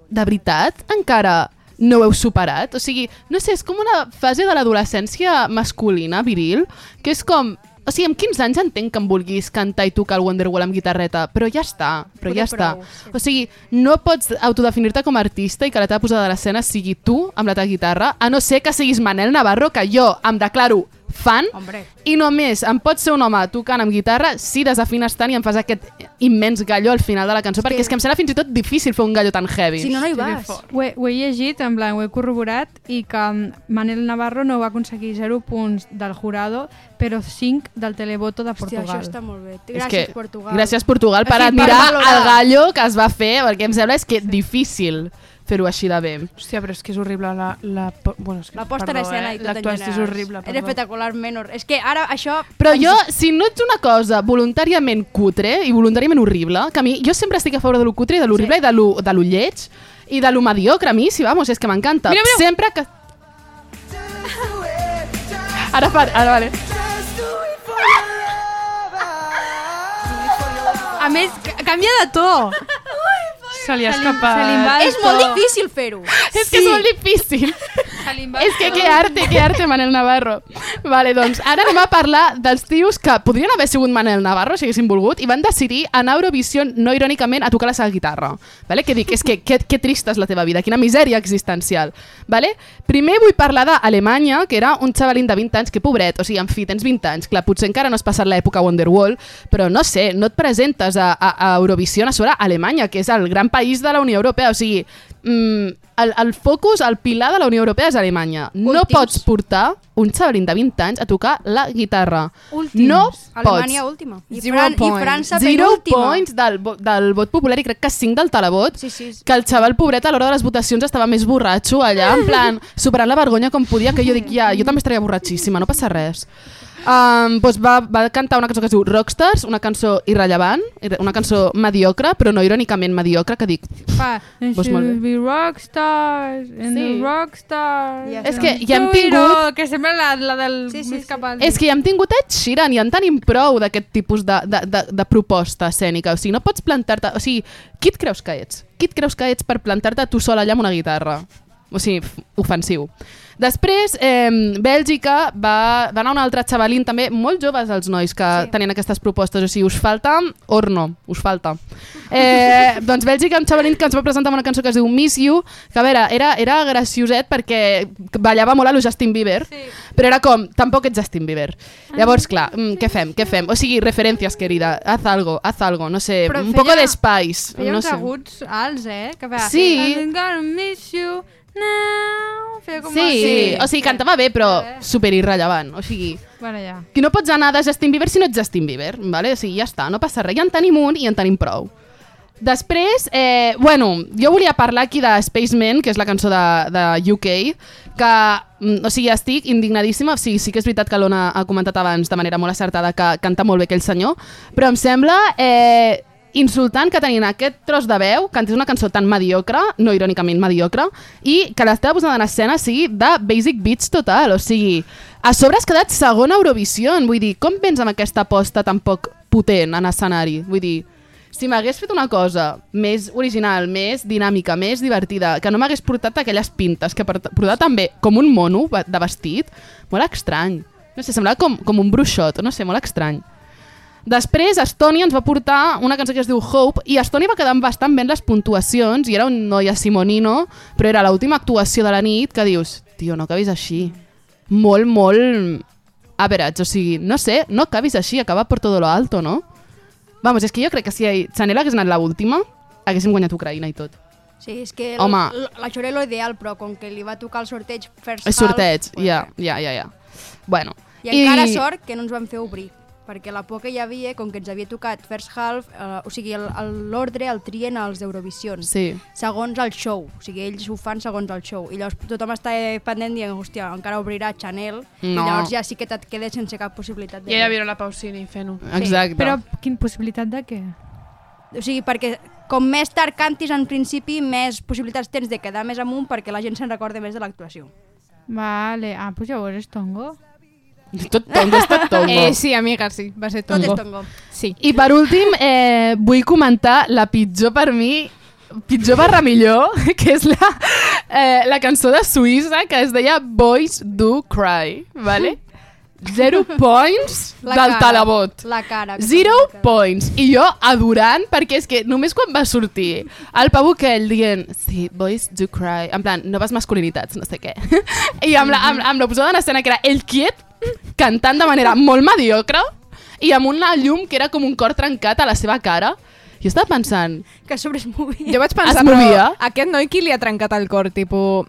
S2: de veritat, encara no ho heu superat? O sigui, no sé, és com una fase de l'adolescència masculina, viril, que és com... O sigui, amb 15 anys entenc que em vulguis cantar i tocar el Wonderwall amb guitarreta, però ja està, però
S6: Poder
S2: ja està.
S6: prou,
S2: O sigui, no pots autodefinir-te com a artista i que la teva posada a l'escena sigui tu amb la teva guitarra, a no ser que siguis Manel Navarro, que jo em declaro fan,
S1: Hombre.
S2: i només em pot ser un home tocant amb guitarra si desafines tant i em fas aquest immens gallo al final de la cançó, perquè és que em serà fins i tot difícil fer un gallo tan heavy.
S5: Ho he, ho he llegit, en plan, ho he corroborat, i que mm, Manel Navarro no va aconseguir 0 punts del jurado, però 5 del televoto de Portugal.
S1: això està molt bé.
S5: Gràcies,
S2: és que,
S5: Portugal.
S2: Gràcies, Portugal, per
S5: O sigui, per
S2: admirar
S5: valorar.
S2: el gallo que es va fer, perquè em sembla és que difícil fer-ho així de bé.
S3: Hòstia, però és que és horrible la... la po- bueno, és que,
S1: La posta en
S3: perdó,
S1: escena
S3: eh?
S1: i tot en
S3: L'actuació és
S1: general.
S3: horrible,
S1: Era
S3: perdó.
S1: espectacular, menor. És que ara això...
S2: Però jo, si no ets una cosa voluntàriament cutre i voluntàriament horrible, que a mi, jo sempre estic a favor de lo cutre i de lo horrible sí. i de lo, de lo lleig i de lo mediocre, a mi, sí, vamos, és que m'encanta.
S3: Mira, mira.
S2: Sempre que... Ara, fa, ara, vale.
S5: A més, ca- canvia de to.
S3: Se li ha
S5: Se li-
S3: escapat.
S5: se li va el
S1: Eh, És molt difícil fer-ho.
S2: És que és molt difícil. És que qué arte, qué arte, Manel Navarro. Vale, doncs ara anem a parlar dels tios que podrien haver sigut Manel Navarro si haguessin volgut i van decidir anar a Eurovisió no irònicament a tocar la seva guitarra. Vale? Que dic, és que que, que trista és la teva vida, quina misèria existencial. Vale? Primer vull parlar d'Alemanya, que era un xavalín de 20 anys, que pobret, o sigui, en fi, tens 20 anys, clar, potser encara no has passat l'època Wonderwall, però no sé, no et presentes a, a, a Eurovisió a sobre a Alemanya, que és el gran país de la Unió Europea, o sigui, mm, el, el focus, el pilar de la Unió Europea és Alemanya. No pots portar un xavalín de 20 anys a tocar la guitarra.
S1: Últims.
S2: No
S1: Alemanya
S2: pots.
S1: última. I Fran- i França
S2: Zero
S1: penúltima.
S2: points del, vo- del vot popular i crec que 5 del televot.
S1: Sí, sí, sí.
S2: Que el xaval pobret a l'hora de les votacions estava més borratxo allà, en plan, superant la vergonya com podia, que jo dic, ja, jo també estaria borratxíssima, no passa res. Um, doncs va, va cantar una cançó que es diu Rockstars, una cançó irrellevant, ir- una cançó mediocre, però no irònicament mediocre, que dic,
S5: Fa, and
S2: Doncs
S5: she
S2: molt
S5: will be rockstars, and
S2: Sí.
S5: the rockstars.
S2: Ja És està. que ja hem tingut-
S5: Que sembla la, la del sí, sí, més cap al...
S2: És que ja hem tingut Ed Sheeran i en tenim prou d'aquest tipus de, de, de, de proposta escènica. O sigui, no pots plantar-te... O sigui, qui et creus que ets? Qui et creus que ets per plantar-te tu sol allà amb una guitarra? O sigui, f- ofensiu. Després, eh, Bèlgica va, va anar un altre xavalín, també molt joves els nois que sí. tenien aquestes propostes. O sigui, us falta horno, us falta. Eh, doncs Bèlgica, un xavalín que ens va presentar amb una cançó que es diu Miss You, que a veure, era, era gracioset perquè ballava molt a lo Justin Bieber, sí. però era com, tampoc ets Justin Bieber.
S5: Ah.
S2: Llavors, clar, mm, què fem, què fem? O sigui, referències, querida, haz algo, haz algo, no sé,
S5: Però
S2: un
S5: feia-
S2: poco d'espais.
S5: Feia
S2: no
S5: uns
S2: sé.
S5: aguts alts, eh? Que va,
S2: Sí.
S5: I'm gonna miss you, Feia com
S2: Sí, sí, o sigui, cantava bé, però super irrellevant. O sigui,
S5: Bueno, ja.
S2: que no pots anar de Justin Bieber si no ets Justin Bieber, vale? o sigui, ja està, no passa res, ja en tenim un i en tenim prou. Després, eh, bueno, jo volia parlar aquí de Spaceman, que és la cançó de, de UK, que, mm, o sigui, estic indignadíssima, o sigui, sí que és veritat que l'Ona ha comentat abans de manera molt acertada que canta molt bé aquell senyor, però em sembla eh, insultant que tenint aquest tros de veu, cantis una cançó tan mediocre, no irònicament mediocre, i que la teva posada en escena sigui de basic beats total, o sigui, a sobre has quedat segona Eurovisió, vull dir, com vens amb aquesta aposta tan poc potent en escenari? Vull dir, si m'hagués fet una cosa més original, més dinàmica, més divertida, que no m'hagués portat aquelles pintes que per- portava també com un mono va- de vestit, molt estrany. No sé, semblava com, com un bruixot, no sé, molt estrany. Després, Estònia ens va portar una cançó que es diu Hope i Estònia va quedar bastant ben les puntuacions i era un noia Simonino, però era l'última actuació de la nit que dius, tio, no acabis així. Molt, molt average, o sigui, no sé, no acabis així, acaba per todo lo alto, no? Vamos, és que jo crec que si Chanel hagués anat l'última, haguéssim guanyat Ucraïna i tot.
S1: Sí, és que
S2: Home.
S1: Home. la Xorello ideal, però com que li va tocar el sorteig first
S2: És sorteig, ja, ja, ja, ja. Bueno.
S1: half, eh. i encara sort que no ens van fer obrir perquè la por que hi havia, com que ens havia tocat first half, eh, o sigui, el- el- l'ordre el, trien als d'Eurovisions,
S2: Sí.
S1: segons el show, o sigui, ells ho fan segons el show, i llavors tothom està eh, pendent dient, hòstia, encara obrirà Chanel, i
S2: No.
S1: llavors ja sí que te't quedes sense cap possibilitat de...
S3: I ella vira la Pausini fent-ho.
S14: Eh,
S2: Exacte. Però
S1: quina possibilitat de què? O sigui, perquè com més tard cantis en principi, més possibilitats tens de quedar més amunt perquè la gent se'n recorda més de l'actuació.
S5: Vale, ah, pues llavors és tongo.
S2: Tot tongo, és tot tongo.
S14: Eh, sí, amiga, sí, va ser tongo. Sí.
S2: I per últim, eh, vull comentar la pitjor per mi, pitjor barra millor, que és la, eh, la cançó de Suïssa que es deia Boys Do Cry, vale? Zero points
S1: La
S2: del
S1: cara,
S2: talabot.
S1: La cara. que
S2: Zero points. I jo adorant, perquè és que només quan va sortir el Pau Kell dient sí, boys do cry, en plan, noves masculinitats, no sé què. I amb la, amb, amb la posada en escena que era ell quiet, cantant de manera molt mediocre, i amb una llum que era com un cor trencat a la seva cara. Jo estava pensant...
S1: Que a sobre es movia.
S14: Jo vaig pensar,
S2: Es movia?
S14: però aquest noi qui li ha trencat el cor, tipus...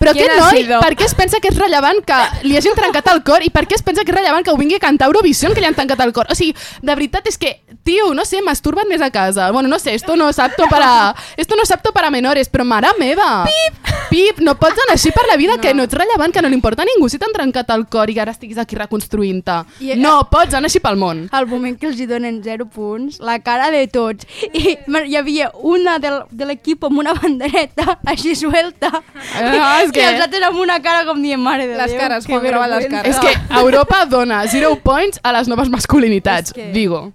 S2: Però aquest noi, per què es pensa que és rellevant que li hagin trencat el cor i per què es pensa que és rellevant que ho vingui a cantar a Eurovision que li han tancat el cor? O sigui, de veritat és que, tio, no sé, masturba't més a casa. Bueno, no sé, esto no es apto para, esto no es apto para menores, però mare meva. Pip! Pip, no pots anar així per la vida, no. que no ets rellevant, que no li importa a ningú si t'han trencat el cor i ara estiguis aquí reconstruint-te.
S1: I-
S2: No pots anar així pel món.
S1: Al moment que els hi donen 0 punts, la cara de tots, i me- hi havia una del, de l'equip amb una bandereta així suelta,
S2: Ah, és
S1: i
S2: que-
S1: els altres amb una cara com dient, mare de
S14: Les
S1: Déu,
S14: cares,
S1: que
S14: Juan, grava les
S1: vergüenza."
S14: cares.
S2: És que Europa dona zero points a les noves masculinitats,
S1: És que-
S2: digo.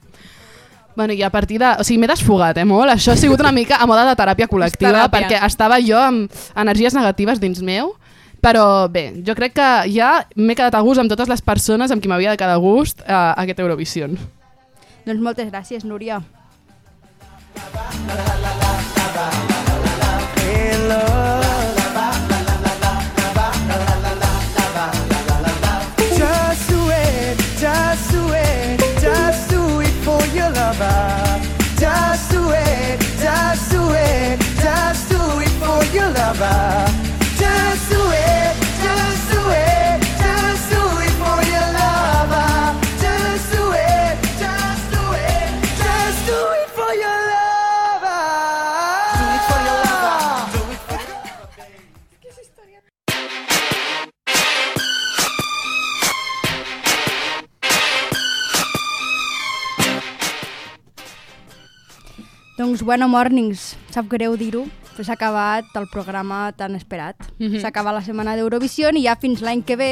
S2: Bueno, i a partir de... O sigui, m'he desfogat, eh, molt. Això ha sigut una mica a moda de teràpia col·lectiva,
S14: teràpia.
S2: perquè estava jo amb energies negatives dins meu, però bé, jo crec que ja m'he quedat a gust amb totes les persones amb qui m'havia de quedar a gust a, a aquest Eurovision.
S1: Doncs moltes gràcies, Núria.
S15: Just do it, just do it, just do it for your lover. Just do it, just do it, just do it for your lover. Just do it, just do it, just do it for your lover. Just do it, just do it, just do it for your lover. Do it for your lover.
S1: Doncs bueno, mornings, sap greu dir-ho, però s'ha acabat el programa tan esperat.
S6: Mhm.
S1: S'ha acabat la setmana d'Eurovision i ja fins l'any que ve,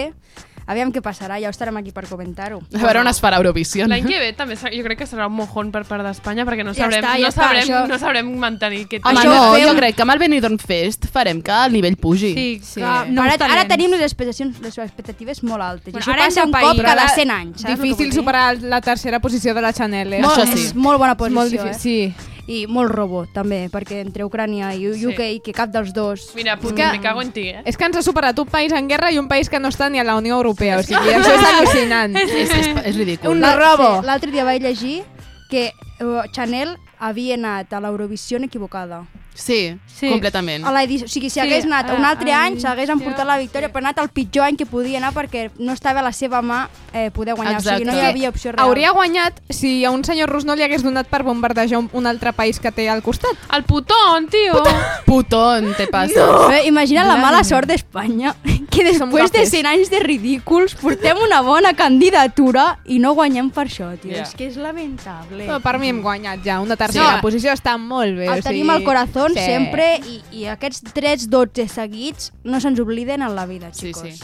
S1: aviam què passarà, ja ho estarem aquí per comentar-ho.
S2: A veure on es farà Eurovision.
S3: L'any que ve també serà- jo crec que serà un mojón per part d'Espanya perquè no
S1: Ja
S3: sabrem,
S1: està, ja
S3: no,
S1: està,
S3: sabrem
S1: això-
S3: no sabrem mantenir aquest
S2: Home, no, jo crec que amb el Benidorm Fest farem que el nivell pugi.
S1: Sí. No ara, ara tenim les expectacions, les expectatives molt altes. Bueno, això
S14: Bueno, ara
S1: passa
S14: és
S1: un
S14: un
S1: cop
S14: país,
S1: cada
S14: ara
S1: 100 anys. saps el que vull
S14: Difícil
S1: dir?
S14: superar la tercera posició de la Chanel, eh?
S1: Molt, és molt bona
S14: És
S1: posició,
S14: molt difícil,
S1: eh? Sí. I molt robo, també, perquè entre Ucrània i
S14: Sí.
S1: UK, que cap dels dos...
S3: Mira, pues,
S14: que-
S3: me cago en ti, eh?
S14: És que ens ha superat un país en guerra i un país que no està ni a la Unió Europea. O sigui, això és al·lucinant.
S2: És, és, és ridícul.
S14: Un robo.
S1: L'altre dia vaig llegir que eh, Chanel havia anat a l'Eurovisió equivocada.
S2: Sí, sí, completament.
S1: A la edició, o sigui, si
S2: Sí,
S1: hagués anat
S2: a-
S1: un altre
S2: a
S1: any, s'hagués
S2: l'edició,
S1: emportat la victòria, però ha anat el pitjor any que podia anar perquè no estava a la seva mà eh, poder guanyar. O sigui, no hi havia opció real.
S14: Hauria guanyat si a un senyor rus no li hagués donat per bombardejar un, un altre país que té al costat.
S3: El putón, tio!
S2: Putón, te passa.
S1: No. Eh, imagina la mala sort d'Espanya, que després de
S2: guapes.
S1: 100 anys de ridículs portem una bona candidatura i no guanyem per això, tio. Yeah. És que és lamentable.
S14: No, per mi hem guanyat ja, una tercera
S1: Sí.
S14: sí. posició està molt bé.
S1: El
S14: o sigui...
S1: tenim al corazón
S14: sí.
S1: sí. sempre i, i aquests 3-12 seguits no se'ns obliden en la vida, xicos. Sí, sí.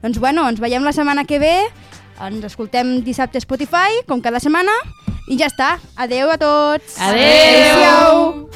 S1: Doncs bueno, ens veiem la setmana que ve, ens escoltem dissabte a Spotify, com cada setmana, i ja està. Adeu a tots!
S2: Adeu!
S1: Adeu!